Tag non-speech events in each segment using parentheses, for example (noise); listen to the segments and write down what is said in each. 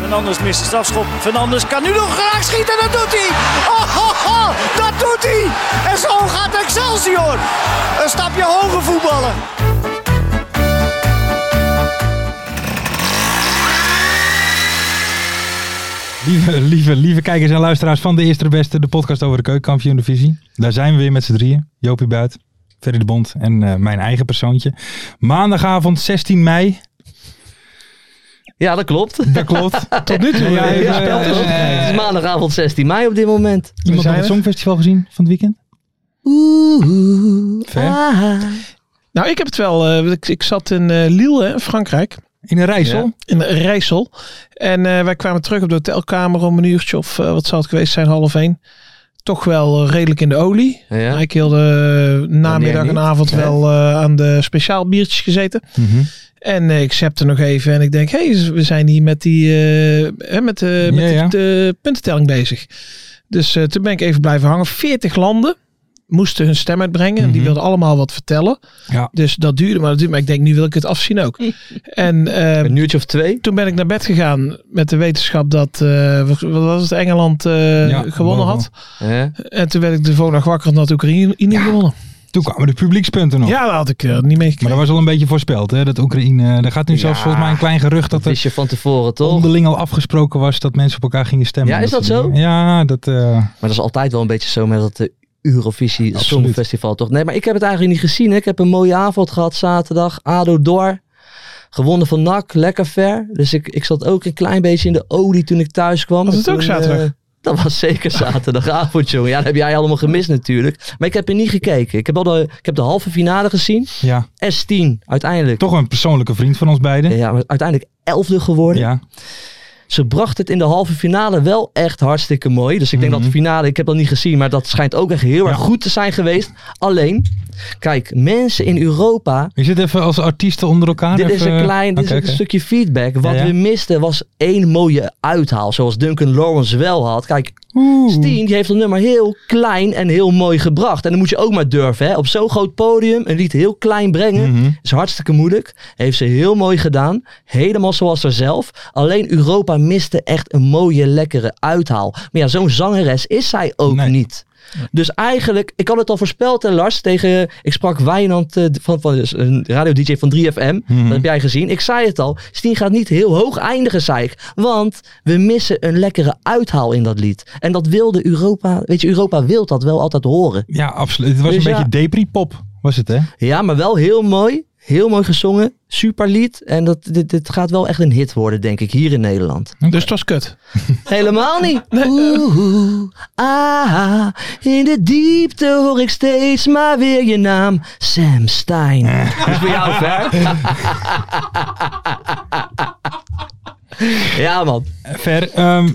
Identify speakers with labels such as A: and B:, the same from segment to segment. A: Fernandes mist de strafschop. Fernandes kan nu nog graag schieten. Dat doet hij. Oh, oh, oh, dat doet hij. En zo gaat Excelsior. Een stapje hoger voetballen.
B: Lieve, lieve, lieve kijkers en luisteraars van de Eerste de Beste, de podcast over de keukenkampioen divisie. Daar zijn we weer met z'n drieën. Jopie Buit, Ferry de Bond en eh, mijn eigen persoontje. Maandagavond 16 mei,
C: Ja, dat klopt.
B: dat klopt. Tot nu toe. Ja,
C: Ja,
B: eh,
C: speld is op.
B: eh,
C: Het is maandagavond 16 mei op dit moment.
B: iemand nog het Songfestival gezien van het weekend? Oeh.
D: Nou, ik heb het wel. eh, ik, ik zat in eh, Lille, hè, Frankrijk.
B: In een rijssel.
D: In Rijssel. En eh, wij kwamen terug op de hotelkamer om een uurtje of eh, wat zou het geweest zijn, half één. Toch wel eh, redelijk in de olie.
C: Ja.
D: Ik heel de eh, namiddag
C: niet?
D: en avond
C: Ja.
D: wel eh, aan de speciaal biertjes gezeten.
B: Mhm.
D: En eh, ik zepte nog even en ik denk, hé, hey, we zijn hier met die eh, hè, met, de,
B: Ja,
D: met die-
B: ja.
D: de puntentelling bezig. Dus eh, toen ben ik even blijven hangen. 40 landen moesten hun stem uitbrengen. En die
B: Mhm.
D: wilden allemaal wat vertellen.
B: Ja.
D: Dus dat duurde maar, dat duurde maar. Ik denk, nu wil ik het afzien ook. en eh,
C: Een uurtje of twee.
D: toen ben ik naar bed gegaan met de wetenschap dat, eh, wat was het, Engeland eh,
B: Ja,
D: gewonnen had.
C: Ja.
D: En toen werd ik de volgende dag wakker en had Oekraïne Oekraïne gewonnen.
B: Toen kwamen de publiekspunten nog.
D: Ja, dat had ik eh, niet
B: Maar
D: meegekregen.
B: dat was al een beetje voorspeld, hè? dat Oekraïne... eh, Er gaat nu zelfs
C: Ja.
B: volgens mij een klein gerucht
C: Dat
B: dat er
C: wist je van tevoren toch?
B: onderling al afgesproken was dat mensen op elkaar gingen stemmen.
C: Ja, is dat
B: soort
C: zo?
B: dingen. Ja, dat... eh,
C: Maar dat is altijd wel een beetje zo met dat eh, Eurovisie
B: Absoluut.
C: Songfestival toch? Nee, maar ik heb het eigenlijk niet gezien. Hè. Ik heb een mooie avond gehad zaterdag. ADO door. Gewonnen van NAC. Lekker ver. Dus ik, ik zat ook een klein beetje in de olie toen ik thuis kwam.
D: Was het
C: En
D: ook
C: toen,
D: zaterdag?
C: eh, dat was zeker zaterdagavond, jongen. Ja, dat heb jij allemaal gemist natuurlijk. Maar ik heb er niet gekeken. Ik heb, al de, ik heb de halve finale gezien.
B: ja,
C: S10 uiteindelijk.
B: toch een persoonlijke vriend van ons beiden.
C: Ja, maar uiteindelijk elfde geworden.
B: Ja,
C: Ze bracht het in de halve finale wel echt hartstikke mooi. Dus ik denk dat de finale, ik heb dat niet gezien, maar dat schijnt ook echt heel erg
B: Mhm. Ja.
C: goed te zijn geweest. Alleen, kijk, mensen in Europa.
B: je zit even als artiesten onder elkaar.
C: Dit is
B: even-
C: een klein dit is
B: Oké,
C: een
B: oké.
C: stukje feedback. Wat
B: Ja, ja.
C: we misten was één mooie uithaal. Zoals Duncan Lawrence wel had. Kijk,
B: Oeh.
C: Steen die heeft dat nummer heel klein en heel mooi gebracht. En dan moet je ook maar durven. Hè? Op zo'n groot podium een lied heel klein brengen.
B: Mhm.
C: Is hartstikke moeilijk. Heeft ze heel mooi gedaan. Helemaal zoals haar zelf. Alleen Europa miste echt een mooie, lekkere uithaal. Maar ja, zo'n zangeres is zij ook
B: Nee.
C: niet. Dus eigenlijk, ik had het al voorspeld, hè, Lars. Tegen, ik sprak Wijnand, eh, van, van dus een radio-dj van 3FM.
B: Mhm.
C: Dat heb jij gezien. Ik zei het al. Steen gaat niet heel hoog eindigen, zei ik. Want we missen een lekkere uithaal in dat lied. En dat wilde Europa. Weet je, Europa wil dat wel altijd horen.
B: Ja, absoluut. Het was
C: Dus
B: een
C: ja.
B: beetje depri-pop, was het hè?
C: Ja, maar wel heel mooi. Heel mooi gezongen. Super lied. En dat, dit, dit gaat wel echt een hit worden, denk ik, hier in Nederland.
D: Dus het was kut.
C: Helemaal niet. Oeh, oeh, ah, in de diepte hoor ik steeds maar weer je naam. Sam Stein.
D: Eh.
C: Dat is voor jou ver. ja, man.
B: Ver, ehm,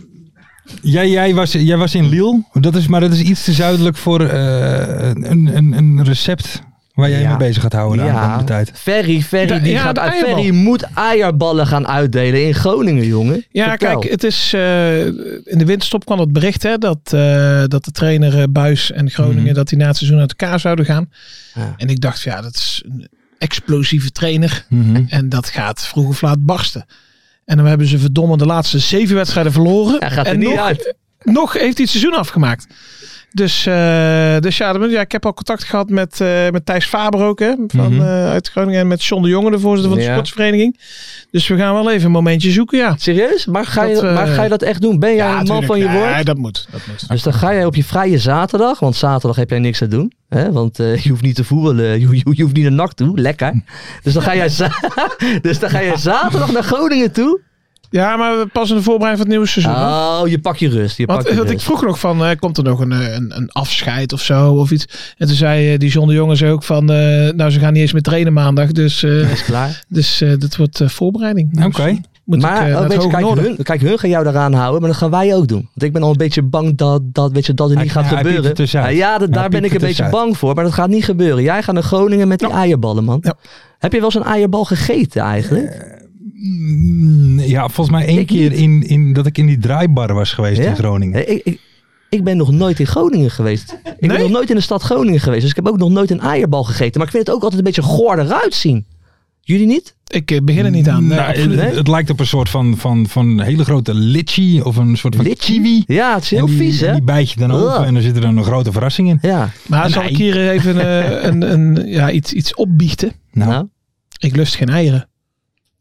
B: jij, jij, was, jij was in Lille, dat is, maar dat is iets te zuidelijk voor eh, een, een, een recept waar jij
C: Ja.
B: mee bezig gaat houden de aankomende tijd.
C: Ferry, Ferry,
D: Da-
C: die
D: ja,
C: gaat
D: de
C: uit.
D: eierbal.
C: Ferry moet eierballen gaan uitdelen in Groningen, jongen.
D: Ja,
C: Vertel.
D: kijk, het is, eh, in de winterstop kwam het bericht hè, dat, eh, dat de trainer eh, Buis en Groningen
B: Mhm.
D: dat die na het seizoen uit elkaar zouden gaan.
C: Ja.
D: En ik dacht, ja, dat is een explosieve trainer
B: Mhm.
D: en dat gaat vroeg of laat barsten. En dan hebben ze verdomme de laatste zeven wedstrijden verloren.
C: Hij gaat er
D: en
C: niet
D: nog,
C: uit.
D: nog heeft hij het seizoen afgemaakt. Dus, eh, dus ja, dat- ja, ik heb al contact gehad met, eh, met Thijs Faber ook, hè, van,
B: Mhm.
D: eh, uit Groningen. En met John de Jonge, de voorzitter van de
C: Ja.
D: sportsvereniging. Dus we gaan wel even een momentje zoeken, ja.
C: Serieus? Maar ga,
D: Dat,
C: je, maar
D: eh,
C: ga je dat echt doen? Ben jij een man
D: tuurlijk.
C: van je woord?
D: Nee, dat moet. Dat moet.
C: Dus dan ga jij op je vrije zaterdag, want zaterdag heb jij niks te doen. Hè? Want eh, je hoeft niet te voetballen, (laughs) je, ho- je, ho- je hoeft niet naar NAC toe, lekker. Dus dan, ga jij za- (laughs) dus dan ga jij zaterdag naar Groningen toe.
D: Ja, maar we passen de voorbereiding van het nieuwe seizoen. hè.
C: Oh, je pak je rust. Je
D: Want,
C: pak je
D: want ik
C: rust.
D: vroeg nog van, eh, komt er nog een, eh, een, een afscheid of zo of iets? En toen zei eh, die John de Jonge zei ook van, eh, nou ze gaan niet eens meer trainen maandag. Dus, eh,
C: Is klaar.
D: dus eh, dat wordt eh,
B: Oké.
D: voorbereiding. Moet ik, eh,
C: maar
D: naar
C: oh,
D: het
C: weet je,
D: Hoge
C: kijk,
D: Noorden.
C: hun, kijk, hun gaan jou daaraan houden, maar dat gaan wij ook doen. Want ik ben al een beetje bang dat, dat, weet je, dat het
B: Hij-
C: niet gaat
B: hij piept er
C: gebeuren.
B: tussenuit.
C: ja, dat,
B: Hij
C: daar ben
B: piept er
C: ik een beetje
B: tussenuit.
C: bang voor, maar dat gaat niet gebeuren. Jij gaat naar Groningen met die eierballen, man.
D: Ja. Eh,
C: Heb je wel eens een eierbal gegeten eigenlijk?
B: Mm, Ja, volgens mij één
C: Ik
B: keer
C: niet.
B: in, in, dat ik in die draaibar was geweest
C: Ja?
B: in Groningen.
C: Nee, ik, ik, ik ben nog nooit in Groningen geweest. Ik
D: Nee?
C: ben nog nooit in de stad Groningen geweest. Dus ik heb ook nog nooit een eierbal gegeten. Maar ik vind het ook altijd een beetje goor eruit zien. Jullie niet?
D: Ik eh, begin er niet aan. Nee,
B: Nou,
D: absoluut.
B: het,
C: niet.
B: het lijkt op een soort van, van, van hele grote litchi of een soort van
C: Litchi?
B: kiwi.
C: Ja, het is heel
B: en die,
C: vies,
B: en
C: hè?
B: die bijt je dan
C: Ugh.
B: open en dan zit er dan een grote verrassing in.
C: Ja.
D: maar zal
B: ei.
D: ik hier even
C: (laughs)
D: eh, een, een, ja, iets, iets opbiechten?
B: Nou,
C: Nou,
D: Ik lust geen eieren.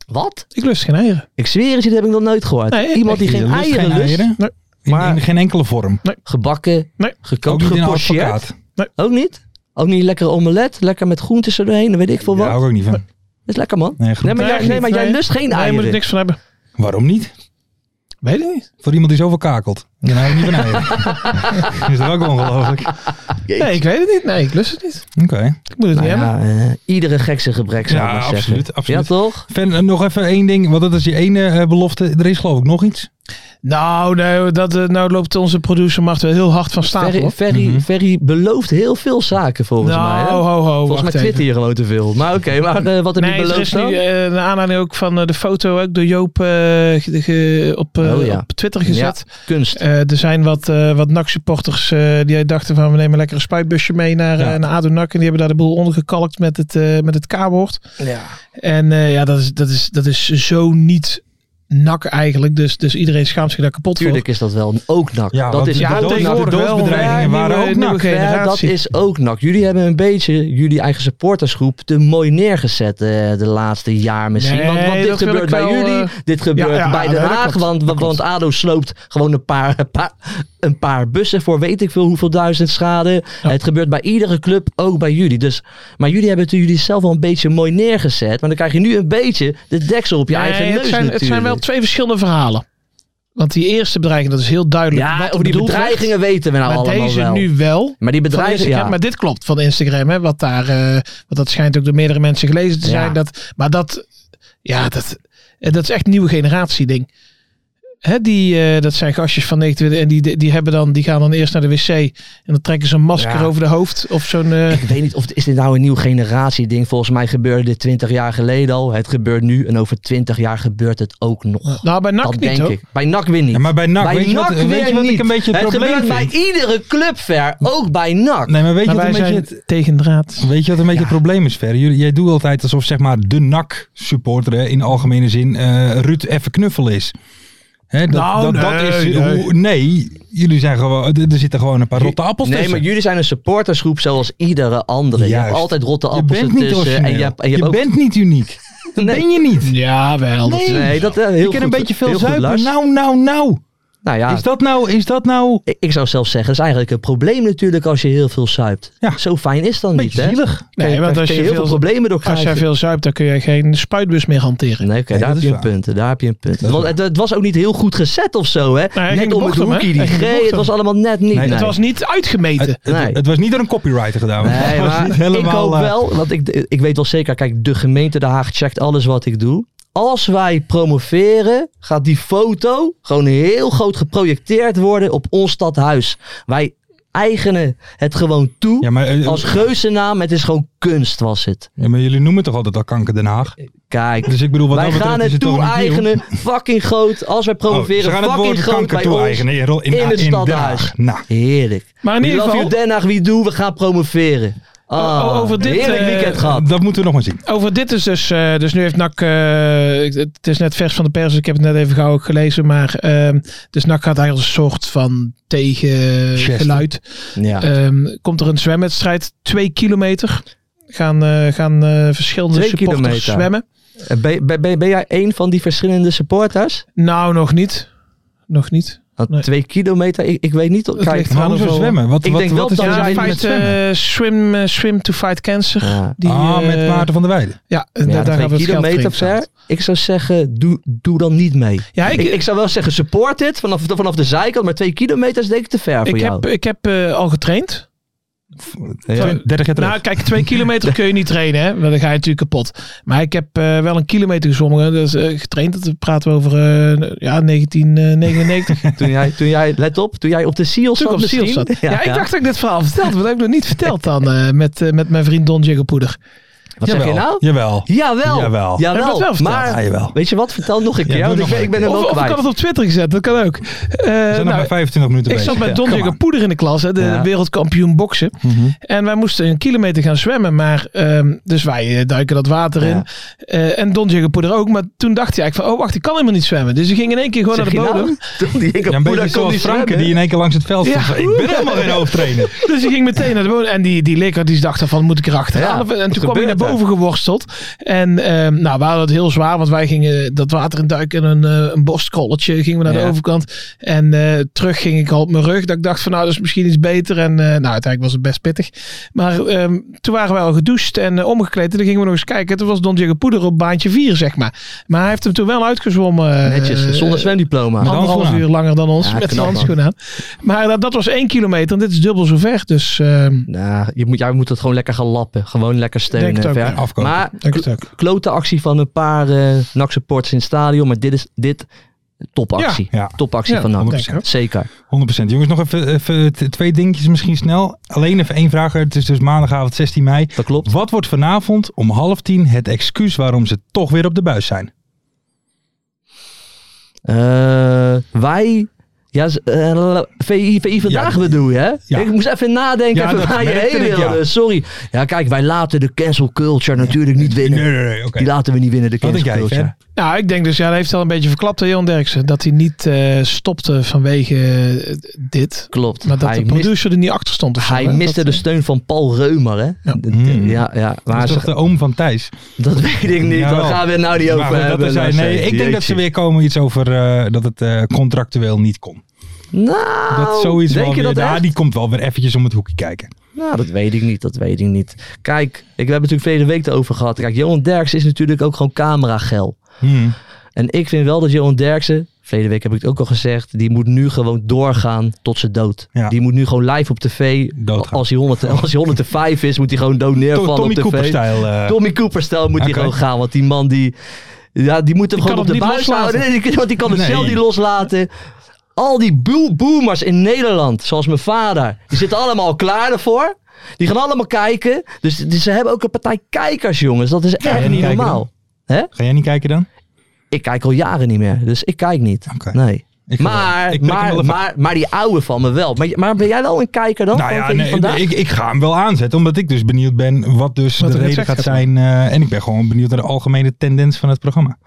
C: wat?
D: Ik lust geen eieren.
C: Ik zweer het je, dat heb ik nog nooit gehoord.
D: Nee,
C: Iemand die
B: je
C: geen
B: lust
C: eieren
B: geen
C: lust.
B: eieren.
D: Nee.
B: In-
C: Maar-
B: in geen enkele vorm.
C: Gebakken,
D: Nee.
C: gekookt,
B: in een
C: gepocheerd.
B: advocaat.
C: Ook niet? Ook niet lekker omelet, lekker met groentes erdoorheen, dan weet ik veel
B: Daar
C: wat.
B: hou ik ook niet van.
C: Dat is lekker, man.
B: Nee, goed.
C: Nee, maar,
D: Nee,
C: jij,
D: echt
C: nee,
D: niet.
C: maar jij
D: Nee.
C: lust geen
D: Daar moet ik
C: eieren.
D: niks van hebben.
B: Waarom niet?
D: Weet ik niet.
B: Voor iemand die zoveel kakelt. Dan hou ik niet van eieren.
C: (laughs)
B: is dat ook ongelooflijk. Oké.
D: Nee, ik weet het niet. Nee, ik lust het niet. Ik moet het
C: Nou
D: niet hebben.
C: ja, eh, iedere gek zijn gebrek, zou ik
B: Ja,
C: maar zeggen.
B: absoluut, absoluut.
C: Ja, toch?
B: Ven, eh, nog even één ding, want dat is je ene eh, belofte. Er is geloof ik nog iets.
D: Nou, nee, dat, eh, nou loopt onze producer Mart wel heel hard van stapel.
C: Ferry,
D: hoor.
C: Ferry,
B: Mhm.
C: Ferry belooft heel veel zaken volgens mij.
D: Nou,
C: Hè?
D: ho, ho, ho.
C: volgens mij
D: wacht
C: twitter
D: even.
C: je gewoon te veel. Maar oké, maar eh, wat heb je
D: Nee, er is
C: beloofd
D: nu
C: dan?
D: eh, naar aanleiding ook van eh, de foto ook door Joop eh, ge- ge- op, eh,
C: Oh, ja.
D: op Twitter gezet.
C: Kunst.
D: Eh, er zijn wat, eh wat NAC-supporters eh, die dachten van we nemen lekker een spuitbusje mee naar,
B: Ja.
D: eh, naar ADO NAC. En die hebben daar de boel ondergekalkt met het, eh, met het K-woord.
C: ja.
D: En eh, ja, dat is, dat, is, dat is zo niet NAC eigenlijk. Dus, dus iedereen schaamt zich daar kapot voor. Dus
C: Tuurlijk is dat wel ook nak.
B: Ja,
C: dat
B: want
C: is
B: de
D: ja,
C: ook nak.
D: tegenwoordig wel,
B: doodsbedreigingen
D: ja,
B: waren
D: nieuwe-
B: ook
D: nieuwe
B: nak.
C: Ja, dat
D: generatie.
C: is ook nak. Jullie hebben een beetje jullie eigen supportersgroep te mooi neergezet eh, de laatste jaar misschien.
D: Nee,
C: want, want dit
D: dat wil
C: gebeurt
D: ik
C: bij
D: wel,
C: jullie,
D: eh,
C: dit gebeurt
D: ja, ja,
C: bij
D: ja,
C: Den
D: dat
C: Haag.
D: klopt,
C: want, want, want ADO sloopt gewoon een paar, (laughs) een, paar, een paar bussen voor weet ik veel hoeveel duizend schade. Het gebeurt bij iedere club, ook bij jullie. Dus, maar jullie hebben het jullie zelf wel een beetje mooi neergezet. Maar dan krijg je nu een beetje de deksel op je
D: Nee,
C: eigen neus
D: het, zijn, het
C: natuurlijk.
D: zijn wel twee verschillende verhalen. Want die eerste bedreiging, dat is heel duidelijk.
C: ja,
D: wat er
C: over die
D: bedoeld werd.
C: bedreigingen weten we nou
D: Maar
C: allemaal
D: deze
C: wel.
D: nu wel.
C: maar die
D: Van
C: bedreigingen,
D: Instagram,
C: ja.
D: Maar dit klopt van Instagram, hè, wat daar, eh, want dat schijnt ook door meerdere mensen gelezen te
C: Ja.
D: zijn. Dat, maar dat, ja, dat, eh, dat is echt een nieuwe generatie ding. Hè, die, eh, dat zijn gastjes van 29 en die, die, hebben dan, die gaan dan eerst naar de wc en dan trekken ze een masker
C: Ja.
D: over de hoofd of zo'n... eh,
C: Ik weet niet of is dit nou een nieuw generatie ding. Volgens mij gebeurde dit 20 jaar geleden al. Het gebeurt nu en over 20 jaar gebeurt het ook nog.
D: nou, bij NAC
C: dat
D: niet
C: denk
D: hoor.
C: ik. Bij NAC weer niet.
B: Ja, maar bij NAC, weet je wat,
C: NAC
B: weet
C: weer
B: je wat ik
C: niet.
B: een beetje het
C: het
B: probleem
C: gebeurt bij
B: vind?
C: iedere club ver, ook bij NAC.
B: Nee, maar weet je
D: Maar
B: wat een
D: wij
B: beetje
D: zijn
B: het...
D: tegen draad.
B: Weet je wat een beetje het probleem is, Ferry? Jullie- Jij doet altijd alsof zeg maar de NAC-supporter hè, in algemene zin eh, Ruud even knuffel is. Hè, dat,
D: Nou,
B: dat, dat
D: nee,
B: is,
D: nee.
B: hoe- nee, jullie zijn gewoon, er er zitten gewoon een paar rotte appels
C: Nee, maar
B: tussen.
C: jullie zijn een supportersgroep zoals iedere andere. Je hebt
B: Juist.
C: altijd rotte
B: je
C: appels
B: bent niet
C: ertussen. En je, hebt- en je,
B: origineel.
C: hebt
B: Je
C: ook,
B: bent niet
C: (laughs)
B: uniek. Dat
C: Nee.
B: ben je niet.
D: Ja, wel.
B: Nee.
C: nee, dat eh, heel
B: Je kan een
C: goed.
B: beetje
C: Heel
B: veel
C: goed, Lars.
B: zuipen. Nou, nou, nou.
C: nou ja,
B: Is dat nou, is dat nou
C: ik, ik zou zelfs zeggen, dat is eigenlijk een probleem natuurlijk als je heel veel zuipt.
B: Ja.
C: Zo fijn is dat
B: een
C: niet,
B: beetje
C: hè?
B: zielig?
C: Kun
D: Nee, want
C: daar
D: als
C: kun
D: je
C: heel veel
D: veel,
C: problemen door
D: als
C: krijgen.
D: jij veel zuipt, dan kun je geen spuitbus meer hanteren.
C: Nee, oké,
B: Nee, dat
C: daar heb
B: is
C: je een
B: waar.
C: punt. Daar heb je een punt.
B: Dat is
C: Want
B: waar.
C: het, het was ook niet heel goed gezet of zo, hè?
D: hij ging
C: net
D: de
C: om
D: bocht
C: het
D: om, hè?
C: hoekje, die
D: Hij ging de
C: G.
D: bocht
C: Het was
D: om.
C: allemaal net niet.
B: Nee,
C: nee.
D: Het was niet uitgemeten.
B: Het, het-
C: Nee.
B: het was niet door een copywriter gedaan.
D: (laughs)
C: Nee,
B: Het was
C: maar
B: niet
C: ik
B: helemaal,
C: hoop
B: eh,
C: wel, want ik, ik weet wel zeker, kijk, de gemeente Den Haag checkt alles wat ik doe. Als wij promoveren, gaat die foto gewoon heel groot geprojecteerd worden op ons stadhuis. Wij eigenen het gewoon toe.
B: Ja maar, eh,
C: als geuzennaam, het is gewoon kunst, was het.
B: ja, maar jullie noemen toch altijd al kanker Den Haag?
C: Kijk,
B: Dus ik bedoel, wat
C: wij
B: dat betreft
C: gaan
B: is
C: het
B: toch niet nieuw.
C: toe-eigenen, fucking groot. Als wij
B: Oh, ze
C: promoveren,
B: gaan het
C: fucking
B: woord
C: groot
B: kanker
C: bij
B: toe-eigenen in, Rol- in,
C: in
B: in,
C: het
B: Den
C: stadhuis.
B: Haag. Nou,
C: ons. Heerlijk.
D: Maar in
C: We
D: ieder
C: love
D: geval...
C: you Den Haag, wie doe, we gaan promoveren. Ah,
D: O- over dit,
C: heerlijk
D: eh,
C: weekend gehad.
B: Dat moeten we nog maar zien.
D: Over dit is dus, eh, dus nu heeft NAC, eh, ik- het is net vers van de pers, dus ik heb het net even gauw ook gelezen, maar ehm, dus NAC gaat eigenlijk een soort van tegengeluid.
C: Ja.
D: Ehm, komt er een zwemwedstrijd, twee kilometer, gaan, eh, gaan eh, verschillende
C: Twee
D: supporters
C: kilometer.
D: zwemmen.
C: Eh, ben, ben, ben, ben jij een van die verschillende supporters?
D: Nou, nog niet. Nog niet.
C: Want
D: Nee.
C: twee kilometer, ik, ik weet niet. of-
D: Het
C: Kijk,
D: ligt-
B: Maar hoezo
D: wel-
B: zwemmen? Wat,
C: Ik
B: wat,
C: denk
B: wat
C: wel
B: is
C: dat
B: er
C: jij
D: Ja,
B: zo met
D: fight,
B: zwemmen?
D: eh, swim, eh, swim to fight cancer.
C: ja.
D: Die,
B: ah, met
D: eh,
B: Maarten van der Weijden.
D: Ja,
C: Ja,
D: daar, daar
C: twee
D: hebben we het geld
C: kilometer
D: voor
C: ver. Ik zou zeggen, doe, doe dan niet mee.
D: Ja,
C: Ik,
D: ik,
C: ik, zou wel zeggen, support dit vanaf, vanaf de zijkant. Maar twee kilometer is denk ik te ver voor
D: ik
C: jou.
D: heb, ik heb eh, al getraind.
C: Ja.
B: 30 jaar terug.
D: Nou, kijk,
B: (laughs)
D: twee kilometer kun je niet trainen, hè? Want dan ga je natuurlijk kapot. Maar ik heb eh, wel een kilometer gezwommen, dus eh, getraind. Dat praten we over eh,
B: (laughs)
D: ja, 1999.
C: Toen jij, toen jij, let op, toen jij op de Seal
D: Toen ik
C: zat
D: op Siel
C: misschien.
D: zat.
C: (laughs)
D: Ja, ik dacht dat ik dit verhaal vertelde, maar dat heb ik nog niet verteld
B: (laughs)
D: dan eh, met, eh, met mijn vriend Don Jagopoeder.
C: Wat zeg je nou?
B: Jawel.
C: Jawel.
B: Jawel.
D: Heb ik dat wel verteld?
C: maar
B: Ja, jawel.
C: weet je wat? Vertel nog een keer.
B: doe
C: want ik,
B: nog
C: ben-
B: maar
C: ik ben hem
D: Of,
C: ook
D: of ik had
C: kwijt.
D: het op Twitter gezet, dat kan ook. Eh,
B: We zijn nog
D: nou,
B: maar 25 minuten
D: ik
B: bezig.
D: zat met Don
B: Ja, kom
D: Jagopoeder in de klas, hè, de
C: Ja.
D: wereldkampioen boksen.
B: maar. Mhm.
D: En wij moesten een kilometer gaan zwemmen. Maar, ehm, dus wij eh, duiken dat water
C: Ja.
D: in. Eh, en Don Jagopoeder ook. Maar toen dacht hij eigenlijk van, oh wacht, ik kan helemaal niet zwemmen. Dus hij ging in één keer gewoon
C: Zeg je
D: naar de bodem.
C: nou? (laughs) Toen die ik
B: Ja,
C: op
B: een
C: Poeder
B: beetje
C: kon
B: zoals
C: niet
B: Franke
C: zwemmen.
B: die in één keer langs het veld
D: Ja.
B: stond. Ik ben helemaal
C: (laughs)
B: geen hoofdtrainer.
D: Dus hij ging meteen naar de bodem. En die, die leek, die dacht van, moet ik erachteraan?
C: Ja,
D: Of-
C: wat
D: en toen kwam hij naar
C: gebeurt er?
D: boven geworsteld. En ehm, nou, we hadden het heel zwaar. Want wij gingen dat water in duiken. En een, eh, een borstkolletje gingen we naar
C: Ja.
D: de overkant. En eh, terug ging ik al op mijn rug. Dat ik dacht van, nou, dat is misschien iets beter. En eh, nou, uiteindelijk was het best pittig. Maar ehm, toen waren we al gedoucht en eh, omgekleed. En dan gingen we nog eens kijken. Toen was Don Diego Poeder op baantje 4, zeg maar. Maar hij heeft hem toen wel uitgezwommen. eh,
C: Netjes, zonder zwemdiploma.
B: Met
D: anderhalf
B: handschoenen
D: uur langer dan ons
C: Ja,
D: met zijn
C: knap, man.
D: handschoenen aan. Maar eh, dat, dat was één kilometer en dit is dubbel zo ver. Dus ehm
C: Nou, je moet, jij moet het gewoon lekker gaan lappen. Gewoon lekker steunen.
D: Denk het ook,
C: ver.
D: ja.
B: Afkopen.
C: Maar
D: denk het ook.
C: klote actie van een paar eh NAC supporters in het stadion. Maar dit is dit topactie.
B: Ja, ja.
C: Topactie
D: Ja,
C: van NAC.
D: 100%.
C: Zeker.
B: 100%. Jongens, nog even, even t- twee dingetjes misschien snel. Alleen even één vraag. Het is dus maandagavond 16 mei.
C: Dat klopt.
B: Wat wordt vanavond om half tien het excuus waarom ze toch weer op de buis zijn?
C: Eh, wij... Ja, z- eh, VI, VI vandaag
B: Ja,
C: bedoel je, hè?
B: Ja.
C: Ik moest even nadenken (laughs)
B: Ja,
C: even
B: dat
C: waar je
B: merkte
C: heen
B: ik, ja.
C: wilde. Sorry. Ja, kijk, wij laten de cancel culture natuurlijk niet winnen.
B: nee. oké.
C: Die laten we niet winnen, de
B: Wat
C: cancel
B: denk jij,
C: culture.
B: Fer?
D: Nou, ik denk dus, ja, dat heeft al een beetje verklapt, hè, Johan Derksen. Dat hij niet eh, stopte vanwege eh, dit.
C: Klopt.
D: Maar dat
C: hij
D: de
C: mist-
D: producer er niet achter stond. of zo,
C: hij
D: hè.
C: miste
D: Dat,
C: de
D: eh,
C: steun van Paul Reumer, hè?
D: Ja.
C: De- de-
B: Hmm.
C: ja, ja.
B: Dat
C: Maar
B: is
C: ze-
B: toch de oom van Thijs?
C: Dat (laughs) weet ik niet.
B: Jawel.
C: Daar gaan we het nou niet over
B: Maar goed,
C: hebben.
B: dat er zijn-
C: Lasse.
B: nee, ik denk dat ze
C: Jeetje.
B: weer komen iets over eh, dat het eh, contractueel niet kon.
C: Nou,
B: dat zoiets
C: denk
B: wel
C: je
B: weer,
C: dat
B: ja,
C: echt?
B: die komt wel weer eventjes om het hoekje kijken.
C: Nou, dat weet ik niet. Dat weet ik niet. Kijk, ik, we hebben het natuurlijk verleden week erover gehad. Kijk, Johan Derks is natuurlijk ook gewoon cameragel.
B: Hmm.
C: En ik vind wel dat Johan Derksen, verleden week heb ik het ook al gezegd, die moet nu gewoon doorgaan tot zijn dood.
B: Ja.
C: Die moet nu gewoon live op tv,
B: Doodgaan.
C: als hij, 100, en- als hij 105 is, moet hij gewoon dood
B: To-
C: neervallen
B: Tommy
C: op tv.
B: Cooper-stijl. eh,
C: Tommy Cooper stel moet hij
B: Oké.
C: gewoon gaan, want die man die, ja, die moet hem
D: kan
C: gewoon op
D: hem
C: de
D: niet
C: buis
D: loslaten.
C: houden. Nee, die- want die kan het
B: Nee.
C: zelf niet loslaten. Al die boe- boomers in Nederland, zoals mijn vader, die zitten allemaal klaar ervoor. Die gaan allemaal kijken. Dus, dus ze hebben ook een partij kijkers, jongens. Dat is
B: jij
C: echt
B: niet
C: niet
B: kijken
C: normaal. Hè?
B: Ga jij niet kijken dan?
C: Ik kijk al jaren niet meer, dus ik kijk niet.
B: Oké.
C: Nee.
B: Ik ga wel.
C: Maar,
B: Ik prik hem wel
C: maar,
B: even-
C: maar, maar die oude van me wel. Maar, maar ben jij wel een kijker dan?
B: Nou
C: van
B: ja,
C: tegen
B: nee,
C: vandaag?
B: ik, ik ga hem wel aanzetten, omdat ik dus benieuwd ben wat dus
D: Wat
B: de
D: er
B: reden
D: gezegd
B: gaat
D: gaat
B: zijn. eh, en ik ben gewoon benieuwd naar de algemene tendens van het programma.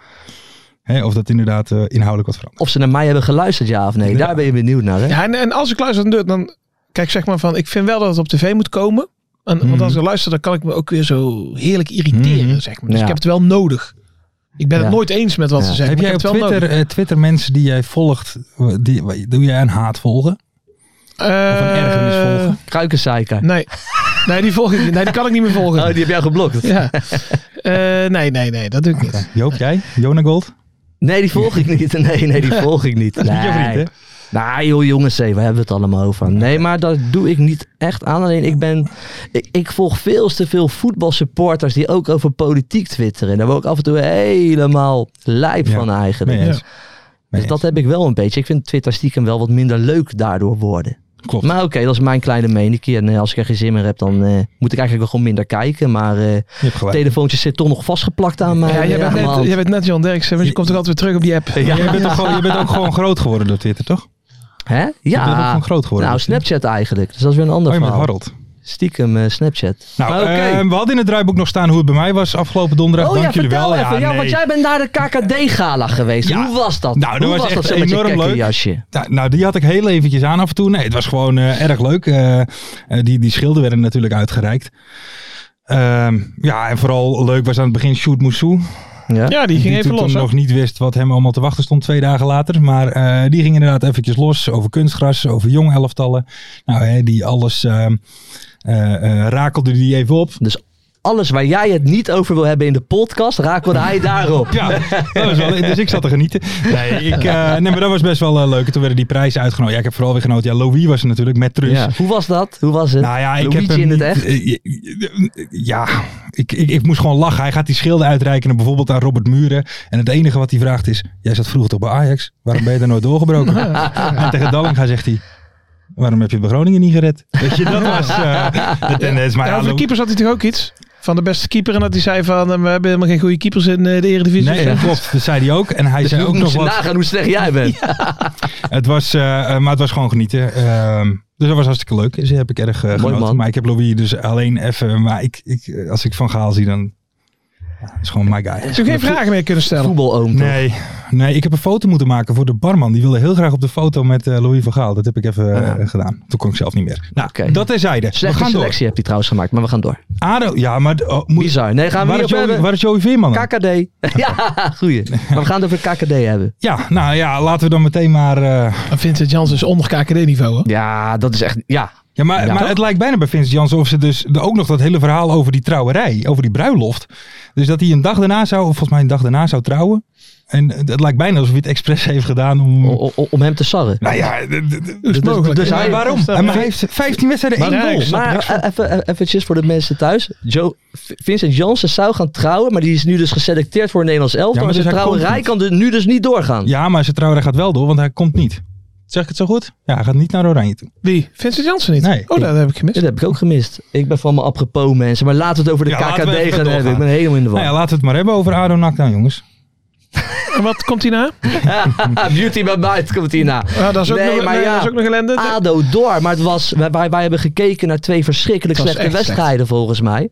B: Hè, of dat inderdaad eh, inhoudelijk wat verandert.
C: Of ze naar mij hebben geluisterd, ja of nee.
B: Ja.
C: Daar ben je benieuwd naar, hè?
D: Ja, en, en als ik luister naar de deur, dan kijk zeg maar van, ik vind wel dat het op tv moet komen. En, Want
C: Hmm.
D: als ik luister, dan kan ik me ook weer zo heerlijk irriteren,
B: Mhm.
D: zeg maar. Dus
C: Ja.
D: ik heb het wel nodig. Ik ben
C: Ja.
D: het nooit eens met wat
C: Ja.
D: ze zeggen.
B: Heb
D: maar
B: jij op
D: ik heb het wel
B: Twitter, eh, Twitter mensen die jij volgt, eh, die, doe jij een haat volgen?
D: nodig.
B: Of een ergernis
D: Eh,
B: volgen?
C: Kruikenzeiker.
B: (laughs)
D: Nee. nee, die volg ik niet. Nee, die kan ik niet meer volgen.
C: Oh, die heb jij geblokt.
D: Ja. Eh, nee, nee, nee, dat doe ik niet.
B: Joop, jij? Jona Gold?
C: Nee, die volg ik niet. (laughs) Nee, nee, die volg ik
B: (laughs)
C: niet.
B: is niet jouw vriend,
C: Nee, nee joh, jongens, hé, waar hebben we het allemaal over? Nee, maar dat doe ik niet echt aan. Alleen ik ben. Ik, ik volg veel te veel voetbalsupporters die ook over politiek twitteren. Daar word ik af en toe helemaal lijp
B: Ja,
C: van eigenlijk.
B: Nee, eens.
C: Dus
B: Nee,
C: dat heb ik wel een beetje. Ik vind Twitter stiekem wel wat minder leuk daardoor worden.
B: Klopt.
C: Maar oké, dat is mijn kleine mening. En eh, als ik er geen zin meer heb, dan eh, moet ik eigenlijk wel gewoon minder kijken. Maar eh
B: je hebt gelijk.
C: telefoontjes zit toch nog vastgeplakt aan mij.
D: Ja, jij, bent
C: man.
B: eh,
D: net, jij bent net John Derksen, want je komt toch altijd weer terug op die app.
B: Ja. Jij bent, toch gewoon, je bent ook gewoon groot geworden door Twitter, toch?
C: Hè?
B: Je bent ook
C: Ja.
B: gewoon groot geworden.
C: Nou,
B: door Twitter.
C: Snapchat eigenlijk. Dus dat is weer een ander
B: Oh, je bent
C: verhaal.
B: Harold.
C: Stiekem eh, Snapchat.
B: Nou,
C: Maar oké.
B: eh, we hadden in het draaiboek nog staan hoe het bij mij was afgelopen donderdag.
C: Oh
B: Dank
C: ja,
B: jullie
C: vertel
B: wel.
C: even. Ja,
B: nee.
C: want jij bent naar de KKD-gala geweest.
B: Ja.
C: Hoe was dat?
B: Nou, dat
C: Hoe
B: was echt
C: zo met je
B: enorm leuk.
C: kekkenjasje?
B: Nou, nou, die had ik heel eventjes aan af en toe. Nee, het was gewoon eh, erg leuk. Eh, eh, die, die schilden werden natuurlijk uitgereikt. Ehm, ja, en vooral leuk was aan het begin Shoot Moussou.
C: Ja.
D: Ja, die ging
B: die
D: even
B: toen
D: los. hè?
B: nog niet wist wat hem allemaal te wachten stond twee dagen later. Maar eh, die ging inderdaad eventjes los over kunstgras, over jong elftallen. Nou, hè, die alles ehm, eh, eh, rakelde die even op.
C: Dus alles waar jij het niet over wil hebben in de podcast, rakelde
B: (laughs)
C: hij daarop.
B: Ja, dat was wel, dus ik zat te genieten. Nee, ik, eh, nee maar dat was best wel eh, leuk. En Toen werden die prijzen uitgenodigd. Ja, ik heb vooral weer genoten. Ja, Louis was er natuurlijk met Trus.
C: Ja. Dus Hoe was dat? Hoe was het?
B: Nou ja, ik
C: Luigi
B: heb hem
C: in het
B: niet- (laughs)
C: echt.
B: eh, eh, Ja, ik, ik, ik moest gewoon lachen. Hij gaat die schilden uitreiken bijvoorbeeld aan Robert Muren. En het enige wat hij vraagt is, jij zat vroeger toch bij Ajax? Waarom ben je daar nooit
C: (laughs)
B: doorgebroken? en tegen Dallinga zegt hij, waarom heb je het bij Groningen niet gered? Weet je, dat was... eh, het, en, het is maar
D: Ja,
B: ja,
D: over de
B: Lou-
D: keepers had hij toch ook iets? Van de beste keeper. En dat hij zei van, eh, we hebben helemaal geen goede keepers in eh, de Eredivisie.
B: Nee, dat klopt. Dat zei hij ook. En hij
C: Dus
B: zei
C: hoe
B: ook nog
C: moest je
B: wat...
C: nagaan hoe slecht
B: (laughs)
C: jij bent.
B: Het was, eh, eh, maar het was gewoon genieten. Ehm, dus dat was hartstikke leuk. Dus daar heb ik erg eh, genoten.
C: man.
B: Maar ik heb Louis dus alleen even. Maar ik, ik, eh, als ik Van Gaal zie, dan ja, is gewoon my guy.
D: Toen geen vragen meer kunnen stellen.
C: Voetbaloom. toch?
B: Nee, nee, ik heb een foto moeten maken voor de barman. Die wilde heel graag op de foto met eh, Louis van Gaal. Dat heb ik even
C: Ah.
B: eh, gedaan. Toen kon ik zelf niet meer. Nou,
C: Oké.
B: dat terzijde.
C: Slechte
B: we gaan
C: selectie heb je trouwens gemaakt, maar we gaan door.
B: door. Ado, ja, maar... Oh, moet,
C: Bizar. Nee, gaan we
B: waar,
C: niet
B: is
C: op
B: Joey,
C: hebben.
B: waar is Joey Veerman dan?
C: KKD. (laughs) ja,
B: (laughs)
C: goeie. Maar we gaan het over KKD hebben.
B: Ja, nou ja, laten we dan meteen maar... eh,
D: En Vincent Janssen is onder KKD-niveau. hè?
C: Ja, dat is echt... Ja,
B: Ja, maar,
C: Ja,
B: maar
C: toch?
B: het lijkt bijna bij Vincent Janssen of ze dus de- ook nog dat hele verhaal over die trouwerij, over die bruiloft. Dus dat hij een dag daarna zou, of volgens mij een dag daarna zou trouwen. En het lijkt bijna alsof hij het expres (laughs) heeft gedaan om...
C: o- o- om hem te sarren.
B: Nou ja, d- d- d-
D: Dat is
C: Oh, Dus-
D: mogelijk.
C: dus
D: Ja,
C: hij-
B: waarom?
D: dat is-
B: Hij heeft 15 wedstrijden één
D: Maar-
B: goal.
D: ik snap
C: Maar eh, even, even eventjes voor de mensen thuis. Joe, V- Vincent Janssen zou gaan trouwen, maar die is nu dus geselecteerd voor het Nederlands elftal.
B: Ja,
C: maar
B: maar
C: zijn
B: dus hij
C: trouwerij
B: komt
C: kan er nu dus niet doorgaan.
B: Ja, maar zijn trouwerij gaat wel door, want hij komt niet. Zeg ik het zo goed? Ja, hij gaat niet naar Oranje toe.
D: Wie? Vincent Janssen niet?
B: Nee.
D: Oh, dat heb ik gemist.
C: Dat heb ik ook gemist. Ik ben van mijn apropos mensen. Maar laten we het over de
B: Ja,
C: KKD
B: laten we even
C: gaan hebben.
B: doorgaan.
C: Ik ben helemaal in de war.
B: Nou ja, laten we het maar hebben over Adonak nou jongens.
D: En wat komt hij na?
C: (laughs) Beauty by Night komt hierna.
D: Ah, dat, is ook
C: Nee,
D: nog,
C: maar
D: nee,
C: ja. Ah.
D: dat is ook nog ellende.
C: ADO door, maar het was, wij, wij, wij hebben gekeken naar twee verschrikkelijk
D: Het was
C: slechte
D: echt
C: wedstrijden volgens mij.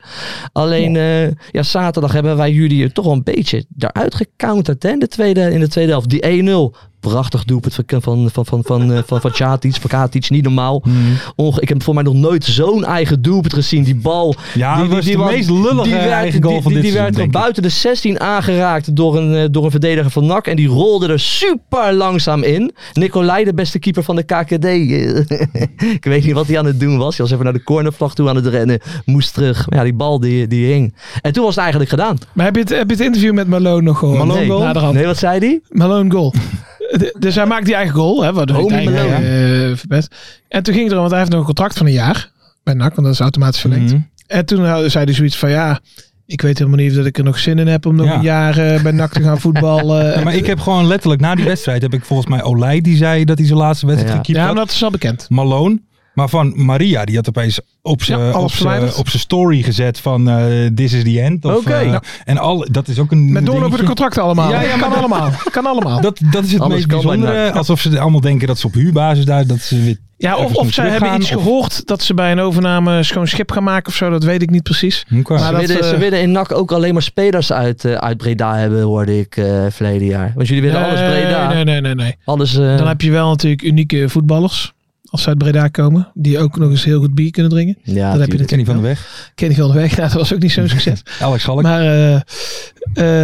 C: Alleen eh, ja, zaterdag hebben wij jullie er toch wel een beetje daaruit gecounterd hè, in, de tweede, in de tweede helft. Die 1-0, prachtig doelpunt van, van, van, van, van, eh, van, van Tjatic, van Katic, niet normaal.
B: Mhm.
C: Onge- ik heb voor mij nog nooit zo'n eigen doelpunt gezien. Die bal.
B: Ja,
C: die,
B: dat was de
C: was-
B: meest lullige
C: die werd-
B: eigen goal
C: die-
B: van
C: die,
B: dit
C: die werd
B: seizoen, denk ik.
C: buiten de 16 aangeraakt door een, eh, door een verdediger van NAC. En die rolde er super langzaam in. Nicolai, de beste keeper van de KKD. eh, (laughs) ik weet niet wat hij aan het doen was. Hij was even naar de cornervlag toe aan het rennen. Moest terug. Maar ja, die bal die, die hing. En toen was het eigenlijk gedaan.
D: Maar heb je, het, heb je het interview met Malone nog gehoord?
C: Malone Nee. goal?
D: Naderhand.
C: Nee, wat zei hij?
D: Malone
B: (laughs)
D: goal. De- dus hij maakt die eigen goal. Hè, waardoor hij het
C: Home
D: eigen, eh, verpest. En toen ging het erom, want hij heeft nog een contract van een jaar. Bij NAC, want dat is automatisch verlengd.
B: Mhm.
D: En toen had- zei hij zoiets van, ja, ik weet helemaal niet of dat ik er nog zin in heb om nog
B: Ja.
D: een jaar eh, bij NAC te gaan voetballen.
B: (laughs) Ja, maar ik heb gewoon letterlijk na die wedstrijd, heb ik volgens mij Olij die zei dat hij zijn laatste wedstrijd
C: Ja.
B: gekiept
D: ja,
B: had.
D: maar dat is al bekend.
B: Malone. Maar van Maria, die had opeens op zijn
D: Ja, alles
B: op zijn
D: verwijderd.
B: op zijn story gezet van eh, This is the end. Of,
C: Oké.
B: eh,
C: Ja.
B: En al, dat is ook een
D: nou. Met doorlopende
B: dingetje.
D: contracten allemaal.
B: Ja, ja, maar
D: kan
B: dat- (laughs)
D: allemaal. Kan allemaal.
B: Dat, dat is het
C: Alles
B: meest
C: kan bij
B: bijzondere.
C: NAC.
B: Alsof ze allemaal denken dat ze op huurbasis daar, dat ze weer...
D: ja, of,
B: Even
D: of
B: niet
D: zij hebben
B: teruggaan,
D: iets
B: of-
D: gehoord dat ze bij een overname schoon schip gaan maken of zo. Dat weet ik niet precies.
B: Hm, qua-
D: Maar
C: Ze
D: dat,
C: willen,
D: eh,
C: ze willen in NAC ook alleen maar spelers uit, eh, uit Breda hebben, hoorde ik eh verleden jaar. Want jullie willen alles Breda.
D: Eh, Nee, nee, nee, nee.
C: Alles, eh,
D: Dan heb je wel natuurlijk unieke voetballers. Als ze uit Breda komen. Die ook nog eens heel goed bier kunnen drinken.
C: ja,
D: dan heb je
C: tuurlijk.
D: het.
B: Kenny van de Weg,
D: Kenny van de Weg, nou, dat was ook niet zo'n succes.
B: Alex Schalk.
D: Maar eh, eh,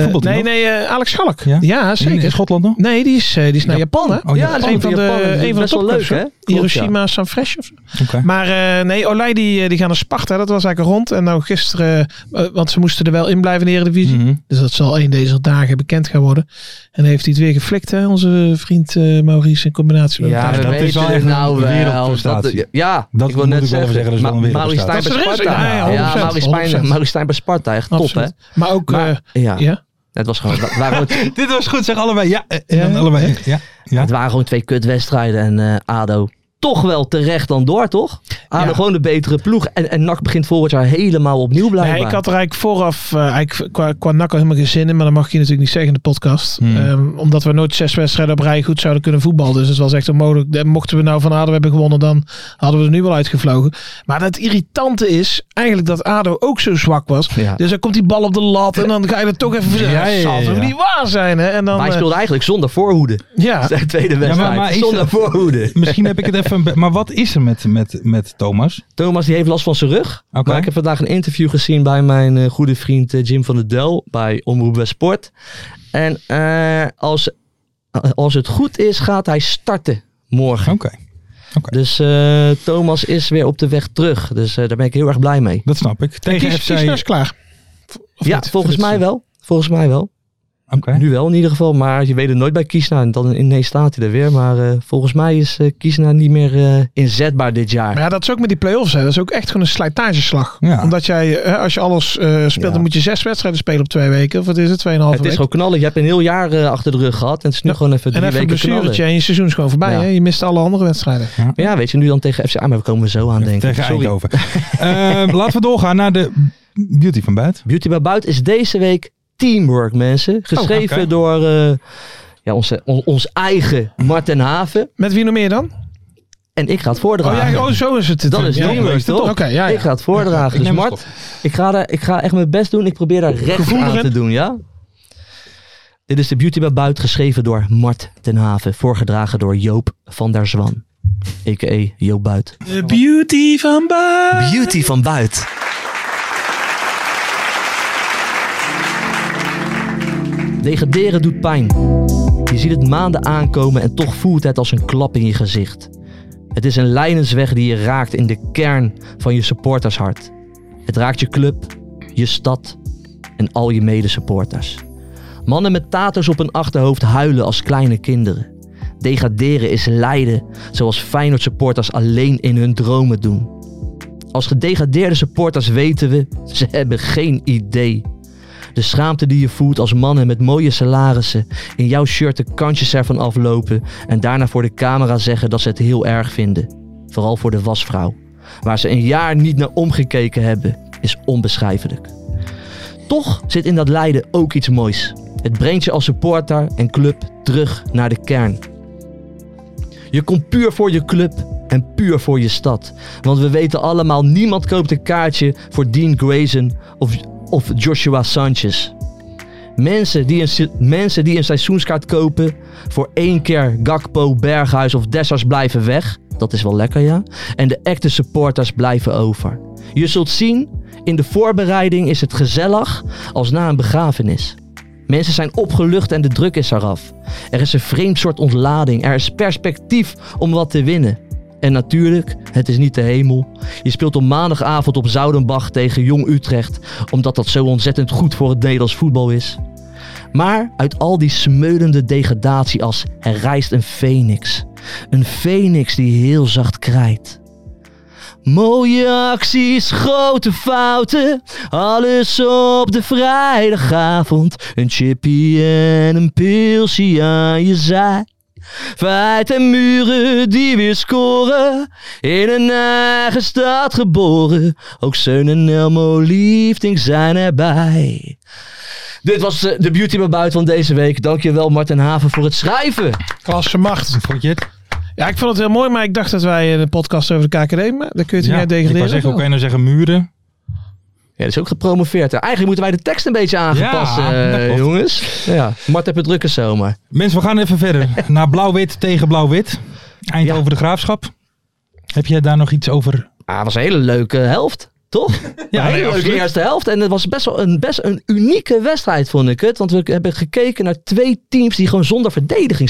B: Voetbalt hij
D: nee,
B: nog?
D: nee, eh, Alex Schalk.
B: Ja?
D: Ja,
B: In- in
D: zeker.
B: Schotland nog?
D: Nee, die is, eh, die is naar Japan, hè?
B: Oh,
C: ja,
B: Japan.
D: dat is een van
C: Japan, dat
D: de,
C: is
D: een van de
C: best wel
D: topclubs,
C: leuk,
D: hè?
C: hè? Klopt,
D: Hiroshima, Sanfresh of zo.
B: Oké.
D: Maar eh, nee, Olij die, eh, die gaan naar Sparta. Dat was eigenlijk rond. En nou gisteren, eh, want ze moesten er wel in blijven in de Eredivisie.
B: Mhm.
D: Dus dat zal een deze dagen bekend gaan worden. En heeft hij het weer geflikt, hè, onze vriend eh, Maurice in combinatie met
C: Ja,
D: elkaar.
B: dat
C: dat
B: is
C: is
B: wel echt een
C: nou wel. Dat, eh,
B: wereldprestatie.
C: ja,
B: Dat
C: ik wil
B: moet
C: net
B: ik wel even zeggen, dat is wel een
C: Ma- Maurice Stijn
D: wereldprestatie.
C: bij
D: Dat is er,
C: Sparta.
D: ja,
C: Ja,
D: 100%,
C: Maurice Stijn-
D: 100%.
C: Maurice Stijn bij Sparta. Echt top, hè?
D: Absoluut. Maar ook,
C: Maar-
D: eh,
C: Ja,
D: ja.
C: het was gewoon... dat waren gewoon-
B: Dit was goed, zeg allebei. Ja, eh, en dan
D: Ja.
B: allebei. eh, Ja, ja.
C: Het waren gewoon twee kutwedstrijden en eh, ADO toch wel terecht dan door, toch? Ado
D: Ja.
C: gewoon de betere ploeg. En, en NAC begint volgend jaar helemaal opnieuw blijkbaar.
D: Nee, ik had er eigenlijk vooraf, eh, eigenlijk qua, qua NAC al helemaal geen zin in, maar dat mag ik je natuurlijk niet zeggen in de podcast.
B: Hmm.
D: Ehm, omdat we nooit zes wedstrijden op rij goed zouden kunnen voetballen. Dus het was echt onmogelijk. En mochten we nou van ADO hebben gewonnen, dan hadden we er nu wel uitgevlogen. Maar het irritante is eigenlijk dat ADO ook zo zwak was.
C: Ja.
D: Dus dan komt die bal op de lat en dan ga je er toch even voor
B: Ja,
D: zeggen.
B: ja, ja,
D: zal toch
B: ja.
D: niet waar zijn, hè? En dan,
C: maar hij
D: eh,
C: speelde eigenlijk zonder voorhoede. (laughs)
D: ja.
C: Zijn tweede wedstrijd.
B: maar is
C: zonder
B: dat-
C: voorhoede.
B: Misschien heb ik het even... een be- Maar wat is er met, met, met Thomas?
C: Thomas die heeft last van zijn rug.
B: Oké.
C: Maar ik heb vandaag een interview gezien bij mijn eh, goede vriend eh, Jim van der Del bij Omroep West Sport. En eh, als, eh, als het goed is, gaat hij starten morgen.
B: Oké.
C: Dus eh, Thomas is weer op de weg terug. Dus eh, daar ben ik heel erg blij mee.
B: Dat snap ik. Tegen
D: Kies,
B: FC...
D: Kiesner is klaar. Of
C: ja,
D: niet?
C: volgens
D: Voor dit
C: mij wel. Volgens mij wel.
B: Oké.
C: Nu wel in ieder geval, maar je weet het nooit bij Kiesna. En dan ineens staat hij er weer. Maar eh, volgens mij is eh Kiesna niet meer eh, inzetbaar dit jaar.
D: Maar ja, dat is ook met die play-offs. Hè. Dat is ook echt gewoon een slijtageslag.
B: Ja.
D: Omdat jij, eh, als je alles eh, speelt,
C: Ja.
D: dan moet je zes wedstrijden spelen op twee weken. Of wat is het? Tweeënhalve
C: het is
D: week.
C: gewoon knallen. Je hebt een heel jaar eh, achter de rug gehad. En het is nu
D: Ja,
C: gewoon even drie
D: en even een
C: weken knallen.
D: blessuretje en je seizoen is gewoon voorbij.
C: Ja.
D: Hè? Je mist alle andere wedstrijden.
C: Maar ja, weet je, nu dan tegen FC... Ah, maar we komen er zo aan, denk ik.
B: Tegen
C: Sorry.
B: Eindhoven. (laughs) Ehm, laten we doorgaan naar de beauty van buiten.
C: Beauty by Bout is deze week Teamwork, mensen. Geschreven
B: Oh, oké.
C: door eh, ja, onze, on- ons eigen Marten Haven.
D: Met wie nog meer dan?
C: En ik ga het
D: Oh,
B: Ah,
C: voordragen.
D: ja, oh zo is het.
C: Dat is
D: ja,
C: Dreamworks,
D: is het
C: toch?
D: Oké, ja,
C: Ik ga
D: ja.
C: het voordragen. dus Mart, ik ga, daar, ik ga echt mijn best doen. Ik probeer daar recht
D: Gevoelig,
C: aan
D: hè?
C: te doen, ja? Dit is de Beauty bij Buit, geschreven door Mart ten Haven. Voorgedragen door Joop van der Zwan. A.k.a. Joop Buit.
D: De beauty van Baar.
C: Beauty van Buit. Degraderen doet pijn. Je ziet het maanden aankomen en toch voelt het als een klap in je gezicht. Het is een lijnensweg die je raakt in de kern van je supportershart. Het raakt je club, je stad en al je medesupporters. Mannen met taters op hun achterhoofd huilen als kleine kinderen. Degraderen is lijden, zoals Feyenoord supporters alleen in hun dromen doen. Als gedegradeerde supporters weten we, ze hebben geen idee. De schaamte die je voelt als mannen met mooie salarissen in jouw shirt de kantjes ervan aflopen en daarna voor de camera zeggen dat ze het heel erg vinden. Vooral voor de wasvrouw, waar ze een jaar niet naar omgekeken hebben, is onbeschrijfelijk. Toch zit in dat lijden ook iets moois. Het brengt je als supporter en club terug naar de kern. Je komt puur voor je club en puur voor je stad. Want we weten allemaal, niemand koopt een kaartje voor Dean Grayson of, of Joshua Sanchez. Mensen die, een, se- mensen die een seizoenskaart kopen voor één keer Gakpo, Berghuis of Dessers blijven weg. Dat is wel lekker, ja. En de echte supporters blijven over. Je zult zien, in de voorbereiding is het gezellig als na een begrafenis. Mensen zijn opgelucht en de druk is eraf. Er is een vreemd soort ontlading. Er is perspectief om wat te winnen. En natuurlijk, het is niet de hemel. Je speelt op maandagavond op Zoudenbach tegen Jong Utrecht, omdat dat zo ontzettend goed voor het Nederlands voetbal is. Maar uit al die smeulende degradatie als er rijst een phoenix. Een phoenix die heel zacht krijt. Mooie acties, grote fouten. Alles op de vrijdagavond. Een chippy en een pilsie aan je zij. Feit en muren die weer scoren. In een eigen stad geboren. Ook Seun en Elmo Liefding zijn erbij. Dit was eh, de Beauty bij Buiten van deze week. Dankjewel Martin Haven voor het schrijven.
D: Klasse macht.
B: Vond je het?
D: Ja, ik vond het heel mooi, maar ik dacht dat wij eh, een podcast over de KKD, maar daar kun je het niet uit
B: ik
D: degraderen.
B: wou zeggen, hoe kan je nou zeggen muren?
C: Ja, dat is ook gepromoveerd. hè. Eigenlijk moeten wij de tekst een beetje aangepast,
B: Ja,
C: eh,
B: dat klopt.
C: jongens. Ja, Mart heb het drukke zomer.
B: Mensen, we gaan even (laughs) verder. Naar blauw-wit tegen blauw-wit. Eindhoven de Graafschap. Heb jij daar nog iets over?
C: Ah, het was een hele leuke helft, toch? Ja, een
B: nee,
C: hele leuke
B: absoluut.
C: eerste helft. En het was best wel een, best een unieke wedstrijd, vond ik het. Want we hebben gekeken naar twee teams die gewoon zonder verdediging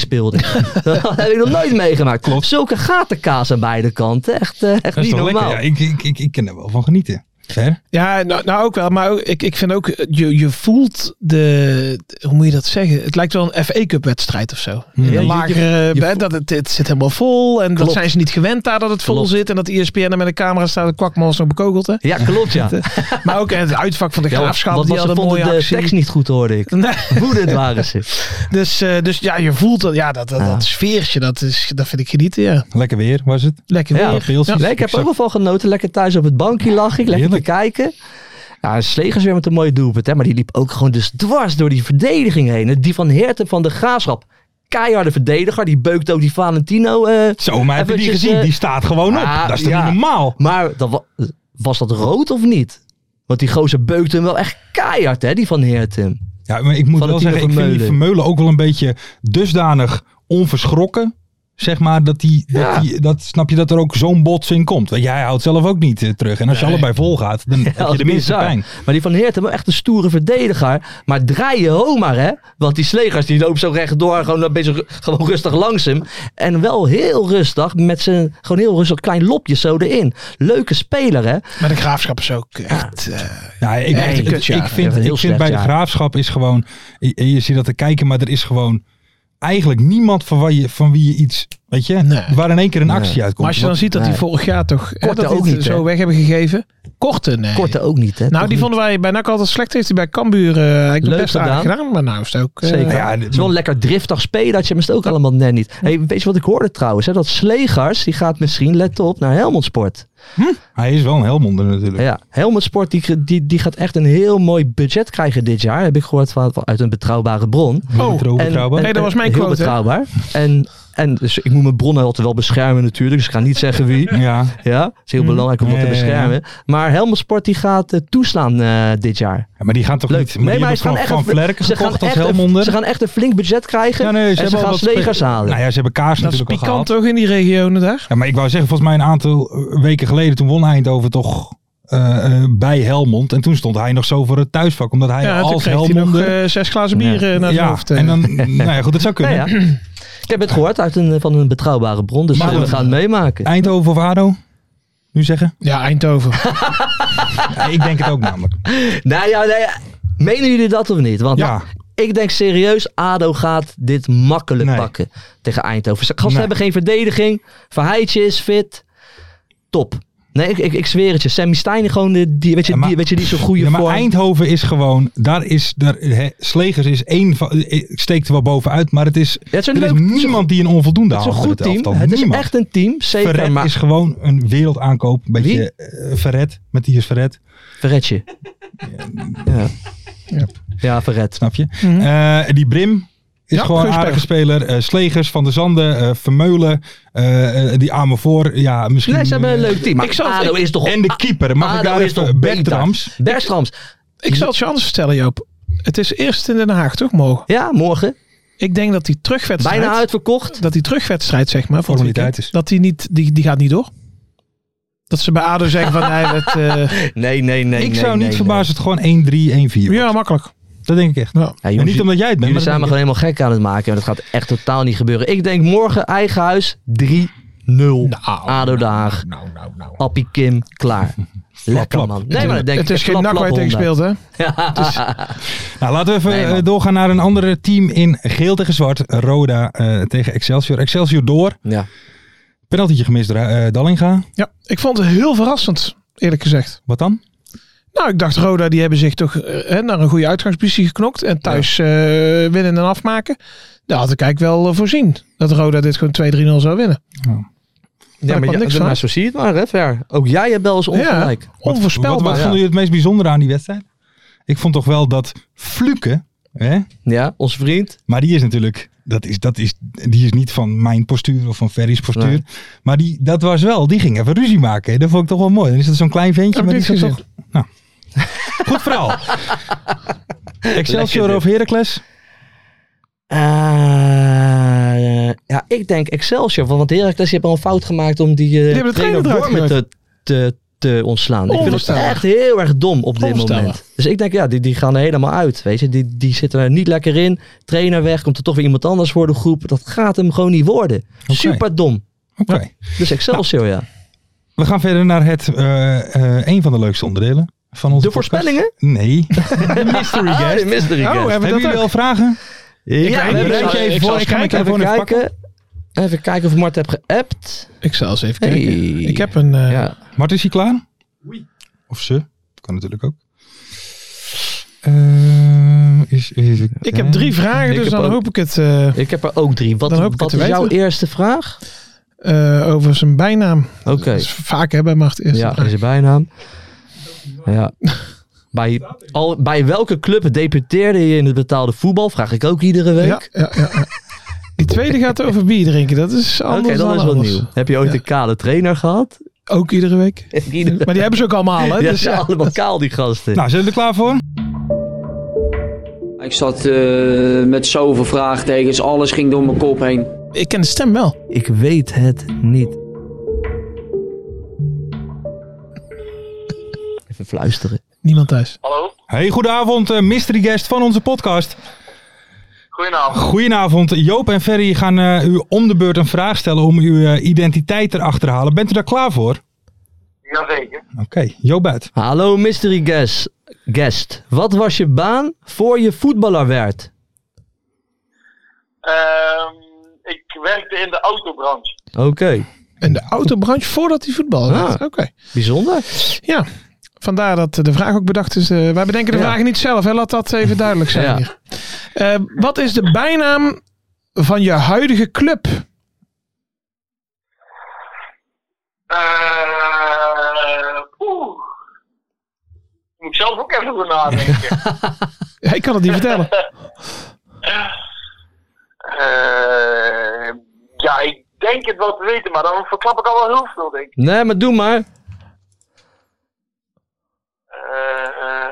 B: (laughs)
C: speelden. (laughs) dat heb ik nog nooit meegemaakt. Klopt. Zulke gatenkaas aan beide kanten. Echt, eh, echt
B: Dat is
C: niet
B: toch
C: normaal.
B: lekker? Ja, ik, ik, ik, ik kan er wel van genieten. Ver?
D: Ja, nou, nou ook wel. Maar ook- ik, ik vind ook, eh, je, je voelt de, hoe moet je dat zeggen? Het lijkt wel een FA Cup wedstrijd of zo.
B: Ja, je-
D: Ja,
C: je-
D: lager,
C: je
D: dat het, het zit helemaal vol. En dat
C: Klopt.
D: zijn ze niet gewend daar dat het vol
C: Klopt.
D: zit. En dat E ESPN er met een camera staat en kwakman nog bekogeld. Hè?
C: (laughs) Ja, klopt
B: (laughs)
C: ja.
D: Maar ook in het uitvak van de
C: ja
D: graafschap.
C: want-
D: die
C: want ze
D: hadden een mooie
C: vonden de
D: actie.
C: tekst niet goed hoorde ik.
D: (laughs) Nee,
C: (laughs) Woedend waren ze.
D: dus, eh, dus ja, je voelt dat, ja, dat, dat,
C: Ja.
D: dat sfeertje, dat, is, dat vind ik genieten. Ja.
B: Lekker weer was het.
D: Lekker
C: Ja,
D: weer.
B: Geeltjes.
C: Nee, ik heb er ook wel van genoten. Lekker thuis op het bankje lag ik. Lekker te
B: Heerlijk.
C: kijken. Ja, Slegers weer met een mooie doelpunt. Hè? Maar die liep ook gewoon dus dwars door die verdediging heen. hè. Die van Herten van de Graafschap. Keiharde verdediger. Die beukt ook die Valentino. eh.
B: Zo, maar heb je die
C: Eventjes,
B: gezien?
C: eh,
B: Die staat gewoon op.
C: ah,
B: dat is toch
C: ja.
B: niet normaal?
C: Maar dat wa- was dat rood of niet? Want die gozer beukte hem wel echt keihard, hè? Die van Herten.
B: Ja, maar ik moet
C: Van
B: wel
C: het
B: zeggen, ik
C: team
B: vind die
C: Vermeulen.
B: Vermeulen ook wel een beetje dusdanig onverschrokken. Zeg maar, dat die, dat,
C: Ja.
B: die, dat snap je dat er ook zo'n bots in komt. Want jij houdt zelf ook niet eh, terug. En als je allebei vol gaat,
C: (laughs)
B: dan heb
C: dat
B: je
C: is
B: de minste
C: bizar.
B: pijn.
C: Maar die van Herten wel echt een stoere verdediger. Maar draai je homar, hè? Want die Slegers die loopt zo rechtdoor. Gewoon een beetje ru- gewoon rustig langs hem. En wel heel rustig. Met zijn gewoon heel rustig klein lopje zo erin. Leuke speler, hè?
D: Maar de graafschap is ook echt... eh,
B: Ja, Nou, ik,
D: Nee,
B: ik-
D: een kutjaar.
B: ik
C: Ja,
B: vind,
C: een heel
B: ik
C: slecht
B: vind bij de
C: jaar.
B: graafschap is gewoon. Je, je zit dat te kijken, maar er is gewoon eigenlijk niemand van, waar je, van wie je iets. Weet je,
D: Nee.
B: waar in één keer een actie
D: Maar
B: uitkomt.
D: als je dan ziet dat die
C: nee.
D: vorig jaar toch hè,
C: Korte
D: dat die
C: ook
D: het
C: niet,
D: zo
C: hè?
D: weg hebben gegeven. Korte, nee.
C: Korte ook niet, hè?
D: Nou,
C: Toch
D: die
C: niet?
D: vonden wij bij NAC altijd slecht. Heeft hij bij Cambuur eh eigenlijk
C: Leuk
D: best aardig
C: gedaan.
D: gedaan. Maar nou is het ook... eh,
C: Zeker.
B: ja,
C: het is wel een lekker driftig spelertje, maar is het ook allemaal net niet. Hey, weet je wat ik hoorde trouwens? Hè? Dat Slegers, die gaat misschien, let op, naar Helmond Sport.
B: Hij is wel een helmonder natuurlijk.
C: Ja, Helmond Sport die, die, die gaat echt een heel mooi budget krijgen dit jaar. Heb ik gehoord van, van- uit een betrouwbare bron.
D: Oh,
B: Betrouw- betrouwbaar.
D: Nee, dat was mijn
C: heel
D: quote, hè?
C: betrouwbaar. En, en dus ik moet mijn bronnen altijd wel beschermen natuurlijk. Dus ik ga niet zeggen
B: (laughs)
C: wie.
B: ja.
C: Ja, het is heel belangrijk om dat te
B: Mm. Ja, ja, ja.
C: beschermen. Maar Helmond Sport die gaat eh, toeslaan eh, dit jaar.
B: Ja, maar die gaan toch
C: Leuk.
B: niet. Maar die hebben
C: ze
B: van, van
C: gaan
B: Vlerken
C: ze gaan
B: gekocht als
C: echt een-
B: helmonder.
C: Ze gaan echt een flink budget krijgen.
B: Ja, nee,
C: en ze
B: hebben al
C: gaan
B: wat
C: slegers
B: spe-
C: halen.
B: Nou ja, ze hebben kaars
D: Dat is
B: natuurlijk al
D: pikant
B: gehad.
D: toch in die regionen daar?
B: Ja, maar ik wou zeggen, volgens mij een aantal eh, weken geleden toen won Eindhoven toch eh, eh, bij Helmond. En toen stond hij nog zo voor het thuisvak. Omdat hij
D: Ja, toen
B: als
D: kreeg hij nog
B: Helmonder...
D: eh, zes glazen bier eh, naar zijn
B: ja,
D: hoofd. eh.
B: en dan, nou ja, goed, dat zou kunnen.
C: Nou ja. Ik heb het gehoord uit een, van een betrouwbare bron, dus
B: Maar
C: we
B: goed.
C: gaan het meemaken.
B: Eindhoven of ADO? Nu zeggen?
D: Ja,
B: (laughs)
D: Eindhoven.
B: ik denk het ook
C: (laughs)
B: namelijk.
C: Nou ja, nee, menen jullie dat of niet? Want
B: Ja.
C: ik denk serieus, ADO gaat dit makkelijk
B: Nee.
C: pakken tegen Eindhoven. Ze gasten
B: Nee.
C: hebben geen verdediging, Verheidje is fit, top. Nee, ik, ik, ik zweer het je. Sammy Stein gewoon, de, die, weet, je,
B: Ja, maar-
C: die, weet je, die is zo'n goede
B: Ja, maar
C: vorm.
B: Eindhoven is gewoon, daar is, daar, hè, Slegers is één van, eh, steekt er wel bovenuit, maar het is,
C: het is een
B: er is
C: leuk- het is een-
B: niemand die een onvoldoende
C: het is
B: haalt.
C: een
B: voor
C: goed
B: dit
C: team.
B: elftal.
C: Het is
B: niemand.
C: echt een team, zeker.
B: Verret
C: maar,
B: is gewoon een wereldaankoop. Een beetje eh, Verret, Matthias Verret,
C: Verretje. Ja.
D: Ja.
C: Ja, Verret.
B: snap je?
C: Mhm.
B: Eh, die Brim is
D: Ja,
B: gewoon een
D: goeie
B: aardige speler. Eh, Slegers, Van der Zanden, eh, Vermeulen, eh, eh, die Amervoor, ja, misschien...
C: Nee, ze hebben een
B: eh,
C: leuk team. Maar
D: ik zal-
C: ADO
D: ik-
C: is toch...
B: En de keeper, mag ik
C: ADO
B: daar
C: is toch
B: even... Bertrams.
C: beter? Bertrams.
D: Ik zal het je anders vertellen, Joop. Het is eerst in Den Haag, toch? Morgen.
C: Ja, morgen.
D: Ik denk dat die terugwedstrijd...
C: Bijna uitverkocht.
D: Dat die terugwedstrijd, zeg maar, voor het
B: Formaliteit
D: weekend,
B: is.
D: dat die, niet, die, die gaat niet door. Dat ze bij ADO zeggen van... nee, het,
B: (laughs)
D: eh,
C: Nee, nee, nee.
B: ik
C: nee,
B: zou
C: nee,
B: niet verbazen als het gewoon 1-3, 1-4
D: ja, makkelijk.
B: Dat denk ik echt.
D: Ja.
C: Nee. Ja,
B: En
C: jongens,
B: niet omdat jij het bent,
C: jullie
B: maar
C: zijn me
B: dat
C: gewoon helemaal gek aan het maken. En dat gaat echt totaal niet gebeuren. Ik denk morgen eigen huis 3-0. ADO Daag.
B: Nou, nou, nou.
C: Appie Kim.
B: (laughs)
C: Klaar. Lekker
B: klap.
C: man. Nee, maar dan denk
D: het
C: ik
D: is
C: echt
D: geen
C: klap,
D: NAC waar je
C: klap,
D: tegen
C: Honda.
D: speelt,
B: (laughs)
D: hè?
B: Nou, laten we even
C: Nee, man.
B: eh, doorgaan naar een andere team in geel tegen zwart. Roda eh, tegen Excelsior. Excelsior door.
C: Ja.
B: Penaltietje gemist, Ra- eh, Dallinga.
D: Ja, ik vond het heel verrassend, eerlijk gezegd.
B: Wat dan?
D: Nou, ik dacht Roda, die hebben zich toch eh, hè, naar een goede uitgangspositie geknokt. En thuis eh, winnen en afmaken. Daar had ik eigenlijk wel eh, voorzien. Dat Roda dit gewoon 2-3-0 zou winnen.
C: Ja,
D: kwam
C: maar, ja,
D: niks
C: maar
D: van.
C: zo zie je het maar, hè, Ver. Ook jij hebt wel eens ongelijk.
D: Ja,
B: Wat- Wat, wat
D: onvoorspelbaar.
B: vonden jullie het meest bijzondere aan die wedstrijd? Ik vond toch wel dat Fluke, hè,
C: Ja, onze vriend.
B: maar die is natuurlijk, dat is, dat is, die is niet van mijn postuur of van Ferry's postuur.
C: Nee.
B: Maar die, dat was wel, die ging even ruzie maken. hè. Dat vond ik toch wel mooi. Dan is dat zo'n klein ventje,
D: Heb
B: maar
D: ik
B: die
D: niks
B: zat toch... Nou. Goed verhaal.
C: Lekker
B: (laughs) Excelsior
C: dit.
B: of Heracles?
C: Eh, ja, ik denk Excelsior. Want Heracles die hebben al een fout gemaakt om die, eh,
D: hebben de trainer eruit
C: Wormen te, te, te ontslaan. Ik vind het
D: Onvoorstelbaar.
C: echt heel erg dom op dit
D: Onvoorstelbaar.
C: moment. Dus ik denk, ja, die, die gaan er helemaal uit. Weet je? Die, die zitten er niet lekker in. Trainer weg, komt er toch weer iemand anders voor de groep. Dat gaat hem gewoon niet worden. Superdom.
B: Oké.
D: Ah,
C: Dus Excelsior, ja.
B: We gaan verder naar het, eh, eh, een van de leukste onderdelen van onze
C: De voorspellingen?
B: podcast. Nee. Mystery
C: Ah,
B: guest.
C: de mystery
D: Oh,
C: guest.
D: hebben
B: Hebben
D: dat
B: jullie
D: ook?
B: wel vragen?
C: ja,
D: weet
C: we
D: niet.
C: hebben-
D: Ik zal-
C: even
D: ik zal
C: kijken,
D: eens kijken,
C: even
B: even
C: kijken. Even kijken of Mart heb geappt.
D: Ik zal eens even
C: Hey.
D: kijken. Ik heb een... eh,
C: Ja.
B: Mart, is hij klaar? Of ze? Dat kan natuurlijk ook. Eh, is even
D: Ik heb drie vragen,
C: Ik
D: dus
C: heb
D: dan
C: ook-
D: hoop ik het eh,
C: Ik heb er ook drie. Wat,
D: Dan hoop ik
C: wat
D: het
C: is
D: te
C: jouw
D: weten.
C: eerste vraag?
D: eh, over zijn bijnaam.
C: Oké.
D: Dat is vaak hè, bij Mart eerst.
C: Ja, is een bijnaam. Ja. Bij, al, bij welke club debuteerde je in het betaalde voetbal? Vraag ik ook iedere week.
D: ja, ja, ja. Die tweede gaat over bier drinken. Dat is
C: Oké,
D: anders
C: dat
D: dan
C: is wat
D: anders.
C: nieuw. Heb je ooit
D: Ja.
C: een kale trainer
D: (laughs)
C: gehad?
D: Ook iedere week.
C: Iedere-
D: Maar die hebben ze ook allemaal,
C: (laughs)
D: hè?
C: Ja,
D: Dus,
C: ze zijn
D: ja.
C: allemaal kaal, die gasten.
B: Nou, zijn jullie er klaar voor?
E: Ik zat eh, met zoveel vraagtekens, alles ging door mijn kop heen.
D: Ik ken de stem wel.
C: Ik weet het niet. Even fluisteren.
D: Niemand thuis.
F: Hallo,
B: Hey, goedenavond, eh, mystery guest van onze podcast.
F: goedenavond.
B: Goedenavond, Joop en Ferry gaan eh, u om de beurt een vraag stellen om uw eh, identiteit erachter te halen. Bent u daar klaar voor?
F: Jazeker.
B: Oké, Joop uit.
C: Hallo mystery guest. guest. Wat was je baan voor je voetballer werd?
F: Ehm, ik werkte in de autobranche.
C: Oké,
D: In de autobranche voordat hij voetbal
C: Ah.
D: had. Oké.
C: bijzonder.
D: Ja. Vandaar dat eh, de vraag ook bedacht is. eh, wij bedenken de
C: Ja.
D: vragen niet zelf, hè? laat dat even duidelijk zijn.
C: Ja.
D: Hier. Eh, wat is de bijnaam van je huidige club?
F: Eh, Oeh. Moet ik zelf ook even over nadenken.
D: Ja, ik kan het niet vertellen.
F: Eh, ja, ik denk het wel te weten, maar dan verklap ik al wel heel veel, denk ik.
C: Nee, maar doe maar.
F: Eh, eh,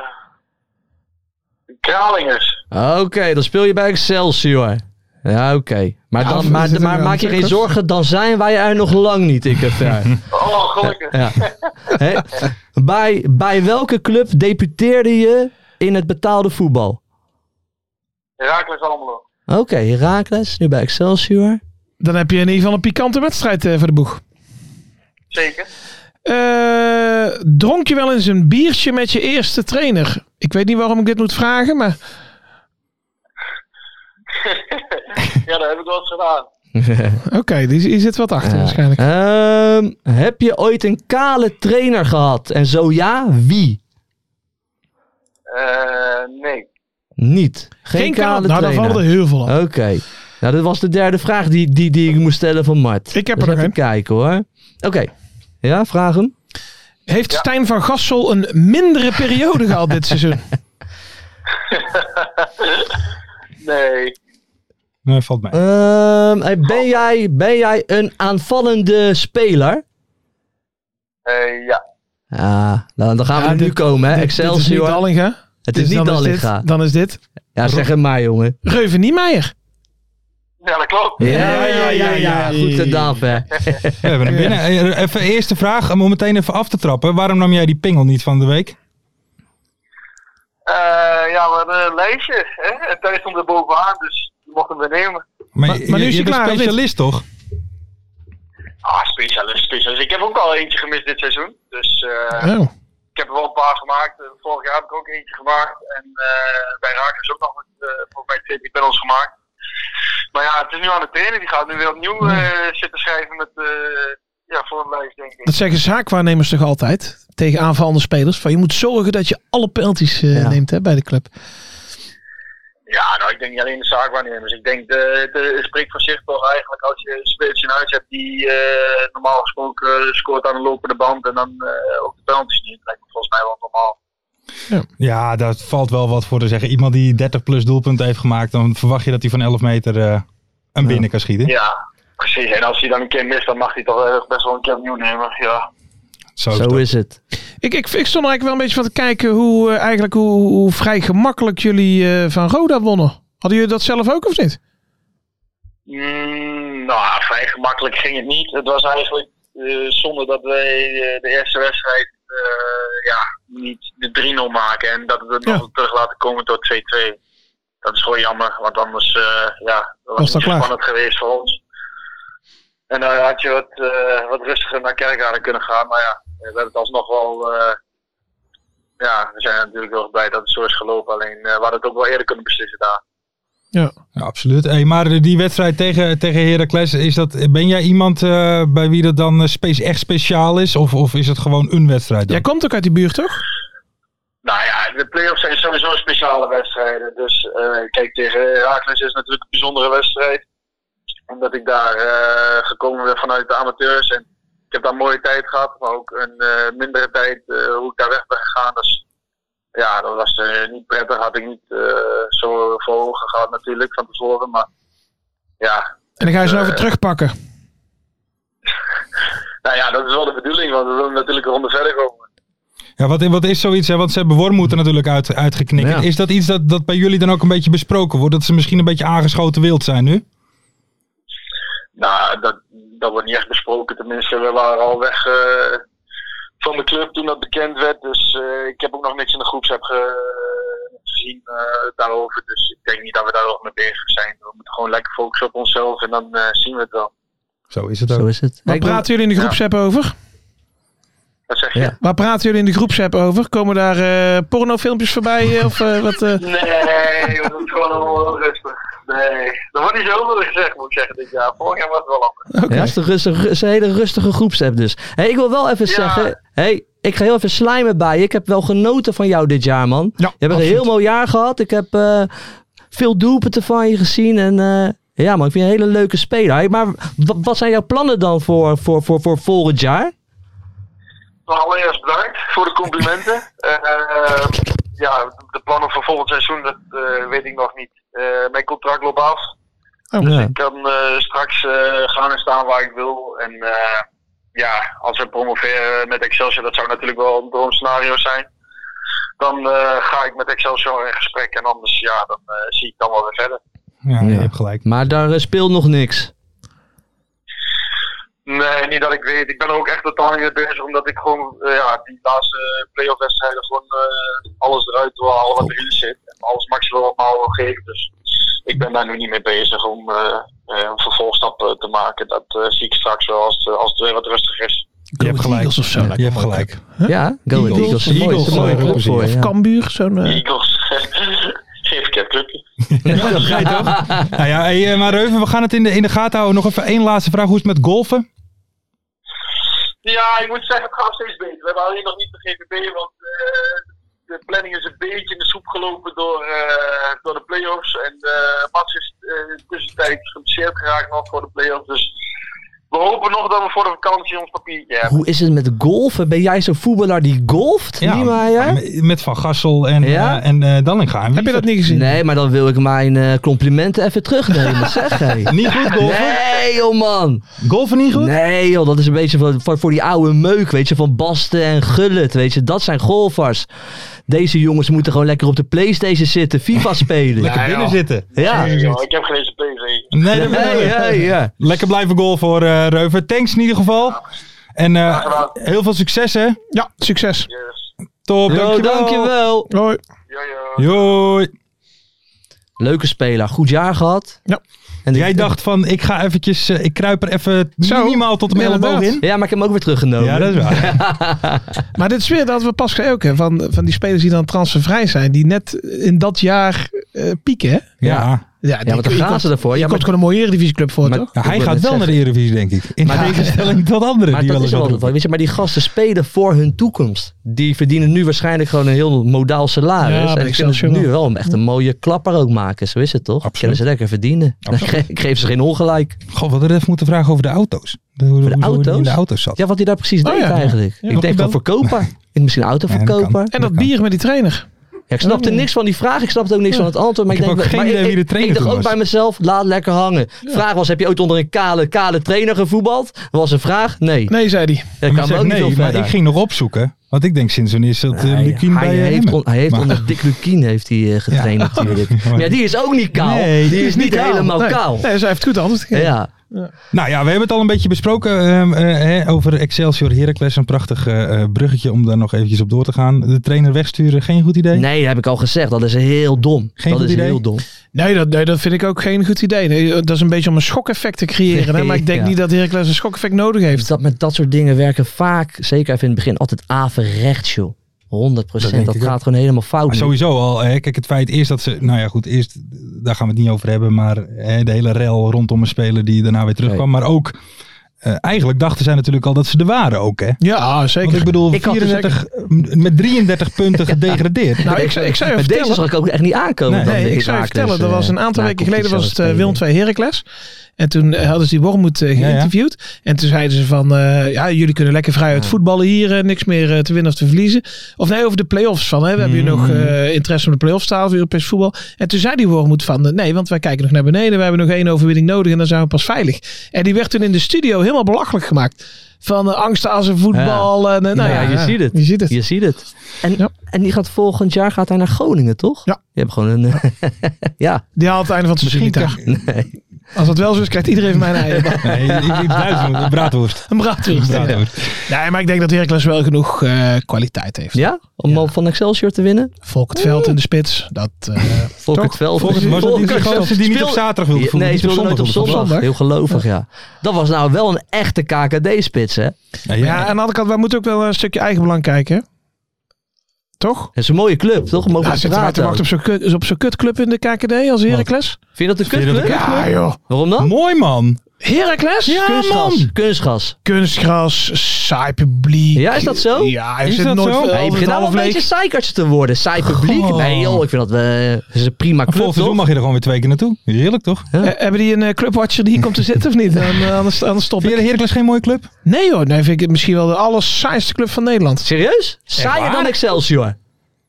F: Kralingers.
C: Oké, dan speel je bij Excelsior. Ja, oké. Maar,
D: Ja,
C: dan,
D: of
C: maar,
D: is het
C: maar
D: een
C: maak je geen
D: circus?
C: zorgen, dan zijn wij er nog lang niet, ik en
D: (laughs)
C: ver.
F: Oh, gelukkig.
C: Ja. Hé, bij, bij welke club debuteerde je in het betaalde voetbal?
F: Herakles Almelo.
C: Oké, Herakles, nu bij
D: (laughs)
C: Excelsior.
D: Dan heb je in ieder geval een pikante wedstrijd eh, voor de boeg.
F: Zeker. (laughs)
D: Eh, dronk je wel eens een biertje met je eerste trainer? Ik weet niet waarom ik dit moet vragen, maar
F: ja, dat heb ik wel eens gedaan.
D: oké, die- hier zit wat achter waarschijnlijk.
C: Ehm, heb je ooit een kale trainer gehad? En zo ja, wie?
F: Eh, nee.
C: Niet. Geen, kale
D: Nou, daar
C: trainer.
D: vallen er heel veel af.
C: Oké. Nou, dat was de derde vraag die, die, die ik moest stellen van Mart.
D: Ik heb
C: Dus
D: er
C: even
D: nog een.
C: kijken hoor. Oké. Ja, vraag hem.
D: Heeft Stijn van Gassel een mindere periode gehad
C: (laughs)
D: dit seizoen?
F: Nee.
B: Nee, valt
D: Eh,
B: mij.
C: Ehm, hey, ben, jij, ben jij een aanvallende speler?
F: Eh, ja.
C: Ah, nou, dan gaan we
D: Ja,
C: er nu
D: dit-
C: komen, hè?
D: Dit- Dit is
C: Excelsior.
D: niet Dallinga.
C: het is
D: Dus
C: niet
D: dan dit-
C: Dallinga.
D: Dan is dit
C: Ja, zeg het maar, jongen.
D: Reuven Niemeyer.
F: Ja, dat klopt.
C: Ja, ja, ja, ja. Goed gedaan, hè.
B: We hebben hem binnen. Eh, Even eerste vraag, om hem meteen even af te trappen. Waarom nam jij die pingel niet van de week?
F: Eh, ja, we hadden een lijstje. Hè? En thuis stond er bovenaan, dus je mocht hem weer nemen.
B: Maar,
D: Maar- maar nu
B: je,
D: is
B: je
D: hij
B: bent
D: klaar, of niet?
B: specialist, toch?
F: Ah, specialist, specialist. Ik heb ook al eentje gemist dit seizoen. Dus eh,
D: Oh.
F: ik heb er wel een paar gemaakt. Eh, Vorig jaar heb ik ook eentje gemaakt. En eh, bij Raak is ook nog wat, eh, volgens mij twee penalties gemaakt. Maar ja, het is nu aan de trainer. Die gaat nu weer opnieuw eh, zitten schrijven met, eh ja, voor een lijst, denk ik.
D: Dat zeggen zaakwaarnemers toch altijd tegen aanvallende spelers. Van, je moet zorgen dat je alle penalties eh,
C: Ja.
D: neemt hè, bij de club.
F: Ja, nou, ik denk niet alleen de zaakwaarnemers. Ik denk, de, de, het spreekt voor zich toch eigenlijk als je een spits in huis hebt die eh, normaal gesproken eh, scoort aan de lopende band en dan eh, ook de penalties niet. Lijkt me volgens mij wel normaal.
B: Ja, daar valt wel wat voor te zeggen. Iemand die 30 plus doelpunten heeft gemaakt, dan verwacht je dat hij van 11 meter eh, een binnen kan schieten.
F: Ja, precies. En als hij dan een keer mist, dan mag hij toch eh, best wel een keer opnieuw nemen. Ja.
B: Zo,
C: Zo is het.
D: Ik, ik, ik stond er eigenlijk wel een beetje van te kijken hoe, eh, eigenlijk hoe, hoe vrij gemakkelijk jullie eh, van Roda wonnen. Hadden jullie dat zelf ook of niet?
F: Mm, nou, vrij gemakkelijk ging het niet. Het was eigenlijk eh, zonder dat wij eh, de eerste wedstrijd eh, ja, niet de 3-0 maken en dat we het
D: Ja.
F: nog terug laten komen tot 2-2. Dat is gewoon jammer, want anders eh, ja, was,
D: dat
F: het niet
D: klaar?
F: spannend geweest voor ons. En daar had je wat, eh, wat rustiger naar Kerkrade kunnen gaan. Maar ja, we hebben het alsnog wel... eh, ja, we zijn natuurlijk heel erg blij dat het zo is gelopen. Alleen eh, we hadden het ook wel eerder kunnen beslissen daar.
D: Ja.
B: Ja, absoluut. Hey, maar eh, die wedstrijd tegen, tegen Heracles, is dat, ben jij iemand eh, bij wie dat dan eh, spe- echt speciaal is? Of, of is het gewoon een wedstrijd? Dan?
D: Jij komt ook uit die buurt, toch?
F: Nou ja, de play-offs zijn sowieso speciale wedstrijden. Dus eh, kijk, tegen Heracles is natuurlijk een bijzondere wedstrijd. Omdat ik daar eh, gekomen ben vanuit de amateurs. En ik heb daar een mooie tijd gehad, maar ook een eh, mindere tijd eh, hoe ik daar weg ben gegaan. Dus ja, dat was eh, niet prettig. Had ik niet eh, zo voor ogen gehad natuurlijk van tevoren. Maar ja,
D: En dan ga je ze nou weer terugpakken.
F: nou ja, dat is wel de bedoeling. Want we willen natuurlijk een ronde verder komen.
B: Ja, wat, wat is zoiets, hè? want ze hebben Wormoed er natuurlijk uit, uitgeknikt.
C: Ja.
B: Is dat iets dat, dat bij jullie dan ook een beetje besproken wordt? Dat ze misschien een beetje aangeschoten wild zijn nu?
F: Nou, dat, dat wordt niet echt besproken. Tenminste, we waren al weg eh, van de club toen dat bekend werd. Dus eh, ik heb ook nog niks in de groepsapp ge- gezien eh, daarover. Dus ik denk niet dat we daar nog mee bezig zijn. We moeten gewoon lekker focussen op onszelf en dan eh, zien we het wel.
B: Zo is het ook.
C: Zo is het.
D: Waar
C: Ik ben-
D: praten jullie in de groepsapp over?
F: Wat zeg je?
C: Ja.
D: Waar praten jullie in de groepsapp over? Komen daar eh, pornofilmpjes voorbij? eh, of eh, wat? eh?
F: Nee, we doen het gewoon allemaal heel rustig. Nee, er wordt niet zoveel gezegd, moet ik zeggen, dit jaar. Vorig jaar was het wel anders.
C: Ja, het is, een rustige- het is een hele rustige groepsapp dus. Hey, ik wil wel even
F: Ja.
C: zeggen, hey, ik ga heel even slijmen bij je. Ik heb wel genoten van jou dit jaar, man.
D: Ja,
C: je hebt een
D: absoluut.
C: heel mooi jaar gehad. Ik heb eh, veel doelpunten van je gezien. En eh, ja, man, ik vind je een hele leuke speler. Hey, maar wa- wat zijn jouw plannen dan voor, voor, voor, voor volgend jaar?
F: Maar allereerst bedankt voor de complimenten. Eh, ja, de plannen voor volgend seizoen, dat eh, weet ik nog niet. Eh, mijn contract loopt af.
D: Oh,
C: Ja.
F: Ik kan eh, straks eh, gaan en staan waar ik wil. En eh, ja, als we promoveren met Excelsior, dat zou natuurlijk wel een droomscenario zijn. Dan eh, ga ik met Excelsior in gesprek en anders ja, dan eh, zie ik dan wel weer verder.
B: Ja, je
C: Ja.
B: hebt gelijk.
C: Maar daar eh, speelt nog niks.
F: Nee, niet dat ik weet. Ik ben er ook echt totaal niet mee bezig, omdat ik gewoon eh, ja, die laatste playoff wedstrijden gewoon eh, alles eruit wil halen wat erin zit. En alles maximaal wil geven. Dus ik ben daar nu niet mee bezig om eh, eh, een vervolgstap eh, te maken. Dat eh, zie ik straks wel als, het, eh, als het weer wat rustig is. (laughs)
B: Je hebt gelijk.
D: Eagles of zo, lijkt
B: je
D: me
B: hebt
D: mooi.
B: gelijk.
C: Ja, Go Ahead Eagles.
D: Eagles.
C: Een mooie-
B: Eagles,
C: een mooie
B: eh,
C: club
B: roepen
C: voor je,
D: Of
C: ja.
D: Cambuur, zo'n... eh,
F: Eagles, (laughs) geef ik het clubje.
B: (laughs) Nou ja, hey, eh, maar Reuven, we gaan het in de, in de gaten houden. Nog even één laatste vraag. Hoe is het met golfen?
F: Ja, ik moet zeggen, het gaat steeds beter. We hebben alleen nog niet de GVB, want eh, de planning is een beetje in de soep gelopen door, eh, door de play-offs. En eh Mats is eh tussentijds geblesseerd geraakt nog voor de play-offs. Dus we hopen nog dat we voor de vakantie ons papiertje hebben.
C: Hoe is het met golfen? Ben jij zo'n voetballer die golft? Niemeyer?
B: m- Ah, met Van Gassel en,
C: Ja?
B: eh, en eh Dallinga. En wie-
D: heb je dat niet gezien?
C: Nee, maar dan wil ik mijn eh, complimenten even
B: (laughs)
C: terugnemen, zeg hey.
B: Niet goed golfen?
C: Nee, joh man.
B: Golfen niet goed?
C: Nee, joh, dat is een beetje voor, voor, voor die oude meuk, weet je, van Basten en Gullit, weet je. Dat zijn golfers. Deze jongens moeten gewoon lekker op de Playstation zitten,
B: (laughs)
C: FIFA spelen.
B: Lekker binnen zitten.
C: Ja.
F: Ja, joh, ik heb geen eens een PV.
B: Nee,
C: Nee,
B: dat bedoel ik.
C: nee, ja.
B: Lekker blijven golfen hoor, eh, Reuven. Thanks in ieder geval. En eh,
F: gedaan.
B: heel veel succes hè.
D: Ja, succes.
F: Yes.
B: Top,
C: Yo,
B: dankjewel.
C: dankjewel.
D: Hoi.
F: Ja, ja.
B: Joi.
C: Leuke speler, goed jaar gehad.
D: Ja.
C: En de-
B: Jij dacht van, ik ga eventjes, eh, ik kruip er even
D: Zo,
B: minimaal tot mijn elleboog in.
D: inderdaad.
C: Ja, maar ik heb hem ook weer teruggenomen.
B: Ja, dat is waar.
D: Maar dit is weer dat we pas geleden ook hè, van, van die spelers die dan transfervrij zijn, die net in dat jaar eh, pieken. Hè?
B: Ja.
D: Ja, die-
C: Ja, want dan
D: je
C: gaan
D: komt-
C: ze ervoor.
D: Je
C: Ja,
D: komt
C: maar,
D: gewoon een mooie eredivisieclub voor,
C: Maar-
D: toch?
B: Ja, hij
C: Ik wou
B: gaat
C: net
B: wel naar de
C: zeggen.
B: Eredivisie, denk ik. In
C: Maar- (laughs)
B: tegenstelling tot anderen
C: maar
B: die wel
C: dat is
B: eens wat
C: wel altijd wel,
B: roepen.
C: weet je, maar die gasten spelen voor hun toekomst. Die verdienen nu waarschijnlijk gewoon een heel modaal
D: Ja,
C: salaris.
D: bij
C: en ik vind
D: Excelsior
C: het nu wel echt een mooie klapper ook maken. Zo is het toch?
B: hm. Absoluut.
C: Kunnen ze lekker verdienen. (laughs) Ik geef ze geen ongelijk.
B: Goh, we hadden even moeten vragen over de auto's. De, hoe, hoe- hoe die
C: auto's?
B: in de auto's zat.
C: Ja, wat hij daar precies
D: Oh,
C: deed
D: ja.
C: eigenlijk.
B: Ja,
C: ik
B: opgebeld.
C: denk van verkoper. Ik denk misschien
B: Ja, dat
C: autoverkoper.
B: kan.
D: En dat bier met die trainer.
C: Ja, ik snapte niks van die vraag. Ik snapte ook niks van het antwoord. Maar
B: Ik
C: ik,
B: heb
C: denk,
B: ook geen
C: maar
B: idee
C: ik-
B: wie de
C: ik-
B: trainer
C: Ik dacht
B: toen
C: ook
B: was.
C: bij mezelf, laat lekker hangen. Vraag was, heb je ooit onder een kale, kale trainer gevoetbald? was een vraag. Nee.
D: Nee, zei hij.
C: Dat
B: Maar
C: kan me
B: zeg,
C: ook niet
B: nee,
C: veel
B: maar
C: verder.
B: ik ging nog opzoeken. Want ik denk sinds wanneer is dat eh,
C: Hij-
B: Lukien
C: hij,
B: bij eh,
C: heeft,
B: Emmen?
C: on- hij heeft
B: Maar-
C: onder Dick Lukien heeft hij eh, getraind
B: Ja.
D: (laughs)
C: natuurlijk. Maar ja, die is ook niet kaal.
B: Nee,
C: die, is niet
D: kaal.
C: helemaal
D: nee.
C: kaal.
D: Nee, dus hij heeft het goed anders gegeven.
C: Ja.
B: Nou ja, we hebben het al een beetje besproken ehm, eh, eh, over Excelsior Heracles. Een prachtig eh, eh, bruggetje om daar nog eventjes op door te gaan. De trainer wegsturen, geen goed idee.
C: Nee, dat heb ik al gezegd. Dat is heel dom.
B: Geen
C: dat
B: goed
C: is
B: idee.
C: heel dom.
D: Nee dat, nee, dat vind ik ook geen goed idee. Nee, dat is een beetje om een schokeffect te creëren. Hè? Maar ik denk
C: Ja.
D: niet dat Heracles een schokeffect nodig heeft.
C: Dus Dat met dat soort dingen werken vaak, zeker even in het begin, altijd averechts, joh. 100
B: denk
C: procent. Dat
B: ik ook.
C: gaat gewoon helemaal fout.
B: Maar
C: nu.
B: sowieso al, hè, kijk, het feit eerst dat ze, nou ja goed, eerst, daar gaan we het niet over hebben, maar hè, de hele rel rondom een speler die daarna weer terugkwam. Maar ook, eh, eigenlijk dachten zij natuurlijk al dat ze er waren ook, hè.
D: Ja, zeker.
B: Want ik bedoel,
C: Ik had dus
B: 34, m- met 33
D: (laughs)
B: punten gedegradeerd.
D: nou, ik, zou- ik zou je
C: Met
D: vertellen...
C: deze zag ik ook echt niet aankomen.
B: Nee,
C: dan
D: Nee,
C: de
D: ik zou je
C: Heracles,
D: vertellen, er
C: eh,
D: was een aantal weken
C: nakomt
D: geleden was het eh,
C: zelfs
D: Willem
C: spelen.
D: 2 Heracles. En toen eh, hadden ze die Wormoed eh,
B: ja.
D: geïnterviewd. En toen zeiden ze van, eh, ja, jullie kunnen lekker vrij uit voetballen hier. eh, niks meer eh, te winnen of te verliezen. Of nee, over de play-offs van, hè, we hebben hier nog
C: Mhm.
D: eh, interesse om de play-offs te halen voor Europees voetbal. En toen zei die Wormoed van, eh, nee, want wij kijken nog naar beneden. We hebben nog één overwinning nodig en dan zijn we pas veilig. En die werd toen in de studio helemaal belachelijk gemaakt. Van eh, angsten als een voetbal. En, eh, nou, ja,
C: ja, je ziet het.
D: Je ziet het.
C: Je ziet het. En,
D: Ja.
C: en die gaat volgend jaar gaat hij naar Groningen, toch?
D: Ja.
C: Je hebt gewoon een... (laughs) ja.
D: Die haalt het einde van het seizoen niet aan.
C: (laughs)
D: Als dat wel zo is, krijgt iedereen van mijn eieren.
B: Nee, ik, ik, duizend, een braadworst.
D: Een braadworst.
B: Braadworst.
D: Nee, maar ik denk dat Heracles wel genoeg eh, kwaliteit heeft.
C: ja? Om al van Excelsior te winnen?
D: Volk het veld in de spits. Dat, eh,
C: Volk het
D: Toch?
C: veld.
B: Volgens mij was dat niet de gozer die niet op zaterdag wilde voelen.
C: Nee,
B: die
C: speelde nooit op
B: wilde voetballen.
C: zondag.
D: zondag.
C: Heel gelovig, ja. Dat was nou wel een echte KKD-spits, hè?
B: Ja,
D: (laughs) ja, aan
B: ja.
D: de andere kant, wij moeten ook wel een stukje eigenbelang kijken. hè? Toch?
C: Het is een mooie club, toch? We Mogen
D: Ja,
C: we
D: zitten wij te
C: praten
D: wachten
C: ook.
D: op zo'n kut- op zo'n kutclub in de KKD als Heracles?
C: Vind je dat een
B: Vind je dat
C: kutclub?
B: een
D: Ja joh.
C: Waarom dan?
B: Mooi man.
D: Heracles?
C: kunstgras. Kunstgras.
D: Kunstgras, saai publiek.
C: Ja, is dat zo?
D: Ja, je
B: Is
D: zit
B: dat
D: nooit
B: zo?
D: altijd
B: Ja,
C: Ja, je begint al
D: half
C: een beetje
D: leeg.
C: zeikertje te worden. Saai publiek.
B: Goh.
C: Nee joh, ik vind dat we... Het is een prima club,
B: Volgend seizoen
C: toch?
B: mag je er gewoon weer twee keer naartoe. Heerlijk toch?
D: Eh, Hebben die een eh, clubwatcher die hier komt te
C: (laughs)
D: zitten of niet? Dan, eh, anders, anders stop
B: Vind je
D: ik.
B: de Heracles geen mooie club?
D: Nee hoor, nee, vind ik het misschien wel de allersaaiste club van Nederland.
C: Serieus? Saaier dan Excelsior?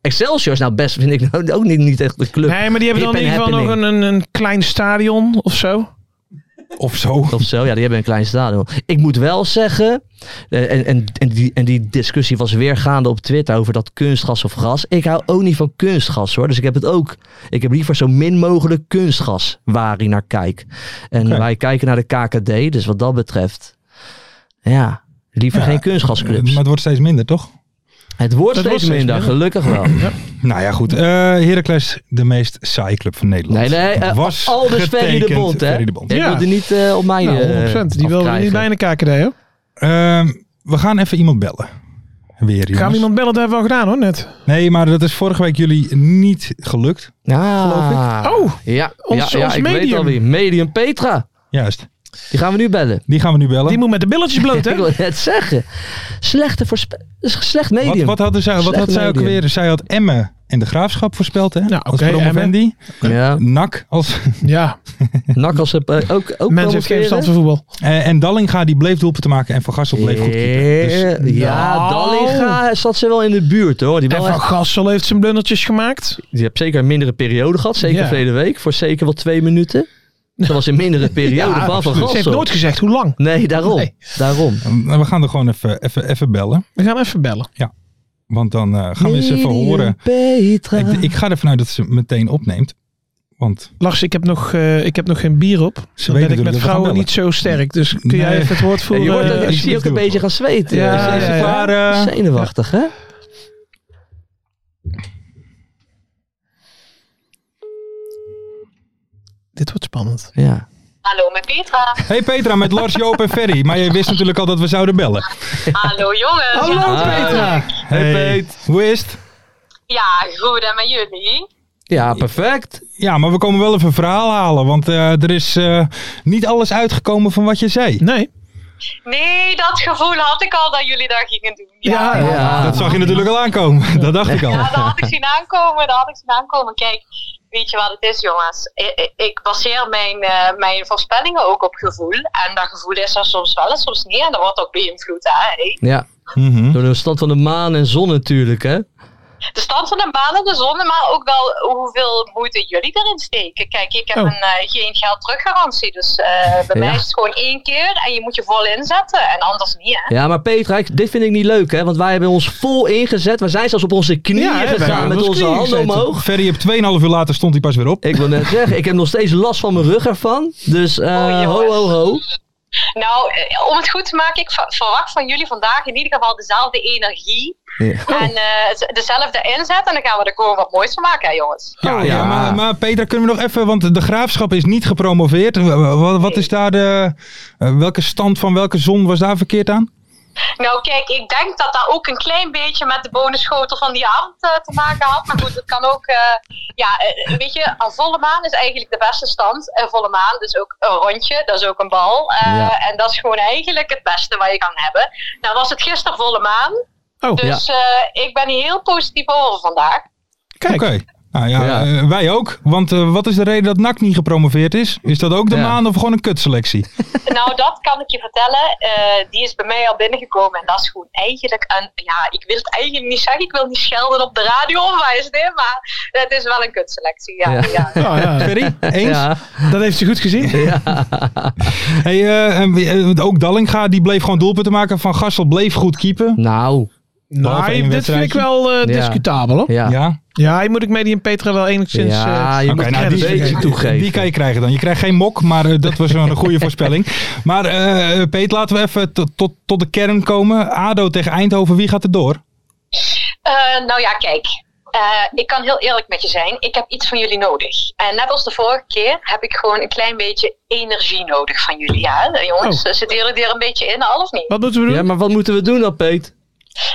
C: Excelsior is nou best, vind ik nou ook niet, niet echt de club.
D: Nee, maar die hebben
C: Hip
D: dan in
C: and
D: ieder geval nog een,
C: happening.
D: een, een klein stadion of zo.
B: Of zo.
C: Of zo, ja, die hebben een klein stadion. Ik moet wel zeggen, eh, en, en, en, die, en die discussie was weer gaande op Twitter over dat kunstgas of gas. Ik hou ook niet van kunstgas hoor, dus ik heb het ook. Ik heb liever zo min mogelijk kunstgas waar ik naar kijk. En
B: Oké.
C: wij kijken naar de KKD, dus wat dat betreft, ja, liever
B: Ja,
C: geen
B: Eh,
C: kunstgasclubs.
B: Maar het wordt steeds minder toch?
C: het wordt
D: het
C: steeds
D: wordt steeds
C: minder, gelukkig wel.
B: Nou ja, goed. Eh Heracles, de meest saaie club van Nederland.
C: Nee, nee, eh,
B: was
C: al dus Ferry de
B: getekend
C: Bond, hè?
B: Ferry de Bond.
C: Ik
D: Ja.
C: wil er niet eh, op mij
D: Nou, 100%.
C: eh,
D: die wilden we
C: afkrijgen.
D: niet bij in de KKD, hoor.
B: Ehm, we gaan even iemand bellen. Weer
D: Gaan
B: jongens.
D: we iemand bellen? Dat hebben we al gedaan, hoor, net.
B: Nee, maar dat is vorige week jullie niet gelukt.
C: Ah,
D: Oh,
C: ja,
D: ons-
C: ja, ja,
D: ons
C: ik weet
D: medium.
C: alweer. Medium Petra.
B: Juist.
C: Die gaan we nu bellen.
B: Die gaan we nu bellen.
D: Die moet met de billetjes bloot,
C: (laughs)
D: hè?
C: Ik wil net zeggen. Slechte voorspe- is Slecht
B: wat,
C: medium.
B: wat hadden zij, wat
C: Slecht
B: had zij ook
C: medium.
B: weer? Zij had Emmen en de Graafschap voorspeld, hè?
D: Nou,
B: als
D: oké,
B: promovendi.
C: Ja,
B: Nak als... (laughs)
D: Ja,
C: Nak als ze eh, ook, ook
D: mensen heeft
C: promoveren.
D: geen verstand van voetbal.
B: Eh, en Dallinga, die bleef doelpunten maken. En Van Gassel bleef goed keeper. Dus
C: Ja, ja
D: Nou.
C: Dallinga zat ze wel in de buurt hoor. Die,
D: En
C: wel
D: Van
C: echt,
D: Gassel heeft zijn blundertjes gemaakt.
C: die heeft zeker een mindere periode gehad. Zeker
D: Ja.
C: verleden week. Voor zeker wel twee minuten. Dat was een mindere periode
D: (laughs) Ja,
C: van Van
D: Ze heeft
C: Gassel.
D: nooit gezegd hoe lang.
C: Nee, daarom.
D: Nee.
C: daarom.
B: Dus, eh, we gaan er gewoon even, even, even bellen.
D: We gaan even bellen.
B: Want dan eh, gaan we eens even
C: Medium
B: horen.
C: Petra.
B: Ik, ik ga ervan uit dat ze meteen opneemt. Want
D: Lars, ik heb nog, eh, ik heb nog geen bier op.
B: Ze
D: Dan
B: weten
D: ben ik
B: natuurlijk dat
D: met
B: we gaan
D: vrouwen
B: bellen.
D: niet zo sterk. Dus kun
B: Nee.
D: jij even het woord
C: Ja,
D: voeren?
C: je wordt
D: eh,
C: ook, ik
B: alsjeblieft
C: zie ook een
B: doe.
C: beetje gaan zweten.
D: Ja,
C: Ze is
D: ja, ja.
C: klaar,
B: Ja.
C: eh, zenuwachtig, hè?
D: Dit wordt spannend.
C: Ja.
F: Hallo met Petra.
B: Hey Petra, met Lars, Joop en Ferry. Maar je wist natuurlijk al dat we zouden bellen.
F: Hallo (laughs) jongens.
C: Hallo
B: Petra. Hey, Peet. Hoe is het?
F: Ja, goed en met jullie?
C: Ja, perfect.
B: Ja, maar we komen wel even een verhaal halen. Want eh, er is eh, niet alles uitgekomen van wat je zei.
D: Nee.
F: Nee, dat gevoel had ik al dat jullie dat gingen doen.
D: Ja, ja.
C: Ja.
B: Dat zag je natuurlijk al aankomen. Dat dacht ik al.
F: Ja, dat had ik zien aankomen, dat had ik zien aankomen. Kijk, weet je wat het is jongens? I- I- Ik, baseer mijn, eh, mijn voorspellingen ook op gevoel. En dat gevoel is er soms wel en soms niet. En dat wordt ook beïnvloed, hè? hé?
C: Ja,
B: Mhm.
C: door de stand van de maan en zon natuurlijk, hè?
F: De stand van de maan en de zon, maar ook wel hoeveel moeite jullie erin steken. Kijk, ik heb
D: Oh.
F: een, eh, geen geld teruggarantie. Dus eh, bij
C: Ja.
F: mij is het gewoon één keer en je moet je vol inzetten. En anders niet, hè?
C: Ja, maar Petra, ik- dit vind ik niet leuk, hè? Want wij hebben ons vol ingezet. We zijn zelfs op onze knieën
D: Ja, hè, wij
C: gegaan
D: hebben
C: met
D: op onze
C: onze
D: knieën
C: handen
D: gezeten.
C: omhoog.
B: Ferry, op 2,5 uur later stond hij pas weer op.
C: Ik wil net zeggen, ik heb nog steeds last van mijn rug ervan. Dus eh,
F: Oh, jongens.
C: ho, ho, ho.
F: Nou, eh, om het goed te maken, ik ver- verwacht van jullie vandaag in ieder geval dezelfde energie. En eh, z- dezelfde inzet. En dan gaan we er gewoon wat moois van maken, hè, jongens.
B: Ja,
C: Oh,
B: ja.
C: ja.
B: maar, maar Peter, kunnen we nog even, want de graafschap is niet gepromoveerd. Wat, wat is daar de, eh, welke stand van welke zon was daar verkeerd aan?
F: Nou, kijk, ik denk dat dat ook een klein beetje met de bonusschotel van die avond eh, te maken had. Maar goed, het kan ook. eh, ja, eh, weet je, een volle maan is eigenlijk de beste stand. Een volle maan, dus ook een rondje, dat is ook een bal. Eh,
C: Ja.
F: En dat is gewoon eigenlijk het beste wat je kan hebben. Nou, was het gisteren volle maan.
D: Oh,
F: Dus eh, ik ben hier heel positief over vandaag.
D: Kijk.
C: (laughs)
B: Oké. Nou ja,
C: Ja.
B: eh, wij ook. Want eh, wat is de reden dat NAC niet gepromoveerd is? Is dat ook de
C: Ja.
B: maan of gewoon een kutselectie?
F: Nou, dat kan ik je vertellen. Eh, die is bij mij al binnengekomen. En dat is gewoon eigenlijk een... Ja, ik wil het eigenlijk niet zeggen. Ik wil niet schelden op de radio (laughs) of waar is dit. Maar het is wel een kutselectie. Ja,
C: Ja.
F: ja.
D: Ja, Ah, ja.
B: Ferry, eens?
C: Ja.
D: Dat heeft ze goed
C: (laughs)
D: gezien.
B: Hey, eh, en wie- eh, want ook Dallinga, die bleef gewoon doelpunten maken. Van Gassel bleef goed keepen.
C: Nou,
B: Behalve één
D: Nou, dit vind ik
B: wedstrijdje.
D: wel eh,
C: Ja.
D: discutabel hoor.
C: ja.
B: Ja.
D: Ja, hier moet ik Medi en Petra wel enigszins...
C: Ja,
D: eh,
C: je
B: Oké,
C: moet
B: nou,
C: het
D: credits
C: een beetje
D: geven.
C: toegeven.
B: Die kan je krijgen dan. Je krijgt geen mok, maar eh, dat was wel een goede
C: (laughs)
B: voorspelling. Maar eh Peet, laten we even tot, tot, tot de kern komen. ADO tegen Eindhoven, wie gaat er door?
F: Eh, nou ja, kijk. Eh, ik kan heel eerlijk met je zijn. Ik heb iets van jullie nodig. En net als de vorige keer heb ik gewoon een klein beetje energie nodig van jullie. Ja, hè, Eh, jongens,
D: Oh.
F: zitten jullie er een beetje in, al of niet?
D: Wat moeten we doen?
C: Ja, maar wat moeten we doen dan, Peet?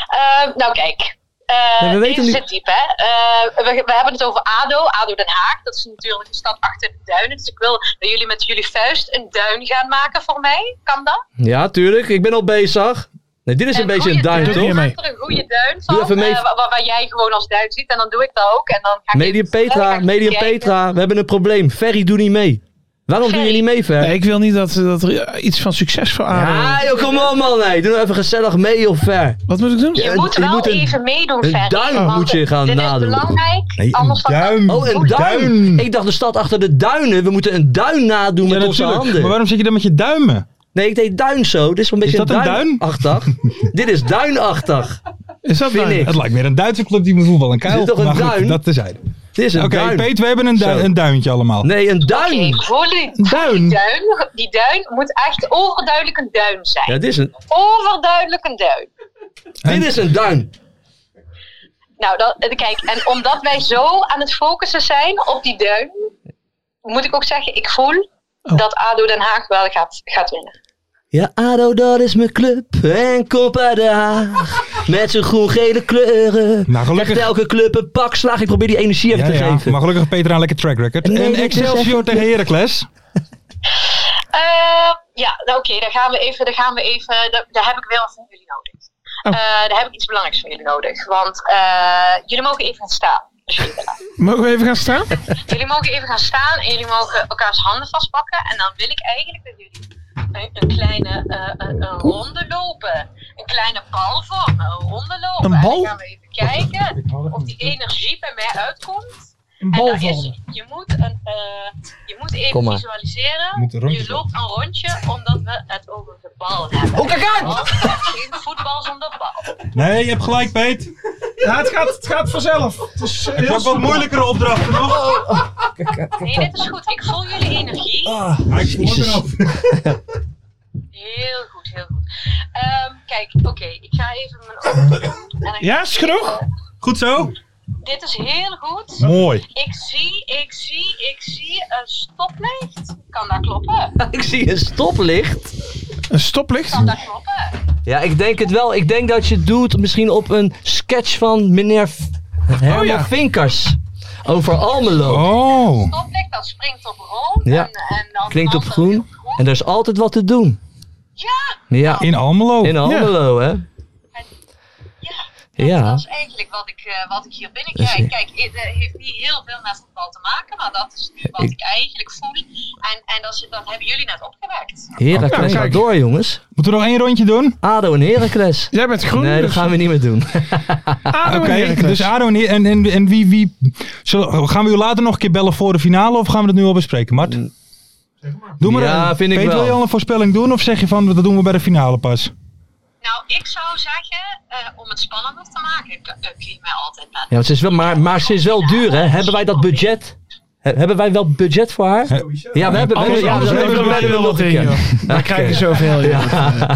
F: Eh, nou, kijk. Eh,
C: Nee, we weten
F: deze
C: nu-
F: zit diep, hè. Eh, we, we hebben het over ADO, ADO Den Haag. Dat is natuurlijk een stad achter de duinen. Dus ik wil dat jullie met jullie vuist een duin gaan maken voor mij. Kan dat?
C: Ja, tuurlijk. Ik ben al bezig. Nee, dit is een beetje een
F: goede
C: duim,
D: duim.
C: toch?
D: Doe
F: Maak er een goede duin van,
C: Doe even mee.
F: eh, wa- wa- waar, jij gewoon als duin ziet. En dan doe ik dat ook. En dan ga ik
C: Medium
F: even- dan ga
C: Petra,
F: ik
C: Medium
F: kijken.
C: Petra, we hebben een probleem. Ferry, doe niet mee. Waarom doe je
F: Ferry.
C: niet mee, Ferry?
D: Nee, ik wil niet dat, dat er eh, iets van succes voor ADO.
C: Ja, joh, kom op man. Nee. Doe nou even gezellig mee of ver.
D: Wat moet ik doen?
F: Je
C: Ja,
F: moet
C: je
F: wel
C: moet een-
F: even meedoen,
C: een
F: Ferry.
C: duim
F: want
C: moet je gaan
F: dit
C: nadoen.
F: is belangrijk. anders dan-
B: Hm.
C: Oh, een duim. Ik dacht de stad achter de duinen. We moeten een duin nadoen
B: Ja,
C: met onze
B: natuurlijk. Maar
C: handen.
B: waarom zit je dan met je duimen?
C: Nee, ik deed duin zo. Dit is wel een beetje
B: Is dat een duin? (laughs)
C: duinachtig. dit is duinachtig.
D: Is dat
C: Vind
D: nou?
C: ik.
B: Het lijkt meer een Duitse club die moet voetballen. Een
C: Is
B: kuil.
C: dit toch een
B: maar goed,
C: duin?
B: dat tezijde.
C: Dit is een
B: Oké,
C: duin.
B: Peet, we hebben een, du-
C: Zo.
B: een duintje allemaal.
C: Nee, een duin.
F: Oké, voor die,
B: duin.
F: Die duin. Die duin moet echt overduidelijk een duin zijn.
C: Ja, dit is een,
F: overduidelijk een duim.
C: dit is een duin.
F: Nou, dat, eh, kijk, en omdat wij zo aan het focussen zijn op die duim, moet ik ook zeggen, ik voel dat ADO Den Haag wel gaat, gaat winnen.
C: Ja, ADO, dat is mijn club. En kop uit de Haag. Met zijn groen-gele kleuren.
B: Nou, gelukkig-
C: Krijgt elke club een pak slaag. Ik probeer die energie even
B: Ja,
C: te
B: ja,
C: geven.
B: Maar gelukkig Peter aan lekker track record.
C: Nee,
B: en
C: dit is
B: Excelsior
C: echt-
B: tegen Heracles.
F: Eh, ja, nou, oké, daar gaan we even, daar gaan we even, daar, daar heb ik wel van jullie nodig. Eh, daar heb ik iets belangrijks van jullie nodig, want eh, jullie mogen even gaan staan. Dus als jullie willen.
D: Mogen we even gaan staan?
F: Jullie mogen even gaan staan en jullie mogen elkaars handen vastpakken. En dan wil ik eigenlijk dat jullie een, een kleine eh, een, een ronde lopen. Een kleine bal vormen, een ronde lopen.
D: Een
F: En
D: bal?
F: dan gaan we even kijken of die energie bij mij uitkomt.
D: Een
F: En
D: bal
F: dat is,
D: vormen.
F: je, moet een, eh, je moet
C: Kom
F: even
C: maar.
F: visualiseren.
B: Moet een rondje
F: Je loopt een rondje omdat we het over de bal hebben.
C: Oh, kijk uit!
F: Want het is Geen voetbal zonder bal.
B: Nee, je hebt gelijk, Peet.
D: Ja, het gaat, het gaat vanzelf. Het is eh, heel Oh, soepel.
B: moeilijkere opdrachten nog.
F: Nee, dit is goed. Ik voel jullie energie.
B: Maar ik moet erop.
F: Heel goed, heel goed. Ehm, kijk, oké, ik ga even mijn ogen doen. En dan-
D: Ja, is genoeg?
B: Goed zo.
F: Dit is heel goed.
B: Mooi.
F: Ik zie, ik zie, ik zie een stoplicht. Kan dat kloppen?
C: Ik zie een stoplicht.
D: Een stoplicht?
F: Kan dat kloppen?
C: Ja, ik denk het wel. Ik denk dat je het doet misschien op een sketch van meneer F- Herman
D: Oh, ja.
C: Vinkers. Over Almelo.
B: Oh.
F: Stoplicht, dat springt op rood.
C: Ja.
F: En, en dan
C: Klinkt op
F: dan-
C: groen. En er is altijd wat te doen.
F: Ja,
C: Ja,
B: In
D: Oh,
B: Almelo.
C: in Almelo, hè?
F: dat
C: Ja.
F: is eigenlijk wat ik, eh, wat ik hier binnen
C: Dat is-
F: krijg. Kijk, het eh, heeft niet heel veel met voetbal te maken, maar dat is nu wat
C: Ik-
F: ik eigenlijk voel. En, en dat, is- dat hebben jullie net opgemerkt.
C: Heracles
D: Oh, Ja,
C: gaat
D: kijk.
C: door, jongens.
B: Moeten we nog één rondje doen?
C: Ado en Heracles.
D: Jij bent groen.
C: Nee, dat
D: dus
C: gaan we niet meer doen.
D: ADO
B: Oké,
D: en Heracles.
B: dus Ado en, en, en, en wie... wie zullen- gaan we u later nog een keer bellen voor de finale of gaan we dat nu al bespreken, Mart? Doe maar
C: Mm. Ja,
B: een-
C: vind ik
B: Peet,
C: wel.
B: wil je al een voorspelling doen of zeg je van dat doen we bij de finale pas?
F: Nou, ik zou zeggen, eh, om het spannender te maken, kun kun je eh, mij altijd laten
C: Ja, want ze is wel, maar, maar ze is wel duur, hè? Hebben wij dat budget? He- Hebben wij wel budget voor haar? Ja, we hebben we hebben-
D: Anders,
C: ja,
D: anders
C: we
D: hebben we
C: hebben-
D: bijna wel wat in, joh. Daar krijg je zoveel, joh.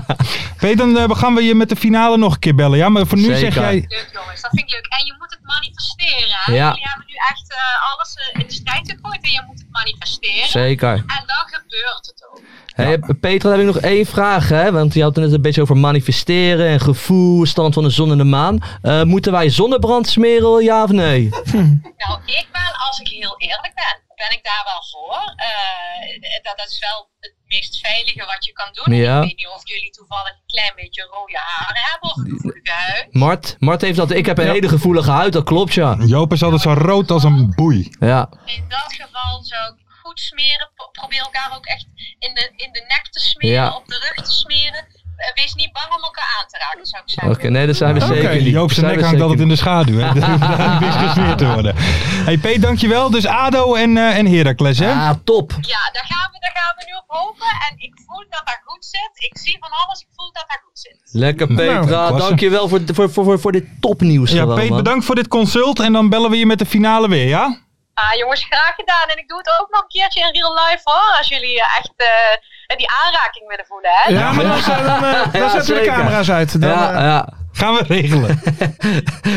B: Peter, dan eh, gaan we je met de finale nog een keer bellen. Ja, maar voor nu
C: Zeker.
B: zeg jij...
F: Leuk jongens, dat vind ik leuk. En je moet het manifesteren. Hè?
C: Ja.
F: Jullie hebben nu echt eh, alles eh, in de strijd gegooid en je moet het manifesteren.
C: Zeker.
F: En dan gebeurt het ook.
C: Hey, Peter, dan heb ik nog één vraag. Hè? Want je had het net een beetje over manifesteren en gevoel, stand van de zon en de maan. Eh, moeten wij zonnebrand smeren, ja of nee?
F: Nou, ik ben, als ik heel eerlijk ben, ben ik daar wel voor. Eh, dat is wel het meest veilige wat je kan doen.
C: Ja.
F: Ik weet niet of jullie toevallig een klein beetje rode haren hebben of een gevoelige huid.
C: Mart, Mart heeft dat. Ik heb een hele gevoelige huid, dat klopt ja.
B: Joop is altijd zo rood als een boei.
C: Ja,
F: In dat geval zou ik goed smeren. Pro- Probeer elkaar ook echt in de, in de nek te smeren,
C: Ja.
F: op de rug te smeren. Eh, Wees niet bang om elkaar aan te raken, zou ik
C: oké.
F: zeggen.
C: Nee, dat zijn we
D: Oké,
C: zeker niet.
B: Joop zijn
C: Zijn
B: nek
C: we
B: hangt
C: zeker
B: altijd in de schaduw.
C: (laughs)
B: Hè? Daar hoeft niet gesmeerd te worden. hey, Peter, dankjewel. Dus ADO en, eh en Heracles, hè?
C: niet. Ah, top.
F: Ja, daar gaan, we, daar gaan we nu op hopen. En ik voel dat dat goed zit. Ik zie van alles, ik voel dat dat goed zit.
C: Lekker Peter,
B: dat was
C: dankjewel voor, voor, voor, voor, voor dit topnieuws.
B: ja,
C: gewoon,
B: Peter,
C: man.
B: bedankt voor dit consult. En dan bellen we je met de finale weer, ja?
F: Ah, jongens, graag gedaan. En ik doe het ook nog een keertje in real life hoor. Als jullie eh, echt eh, die aanraking willen voelen. Hè?
D: Ja, maar dan, zijn
C: (laughs)
D: we hem, eh, dan
C: Ja,
D: zetten we de
C: zeker.
D: camera's uit. Dan,
C: Ja,
D: eh,
C: ja.
B: Gaan we
C: (laughs)
B: regelen.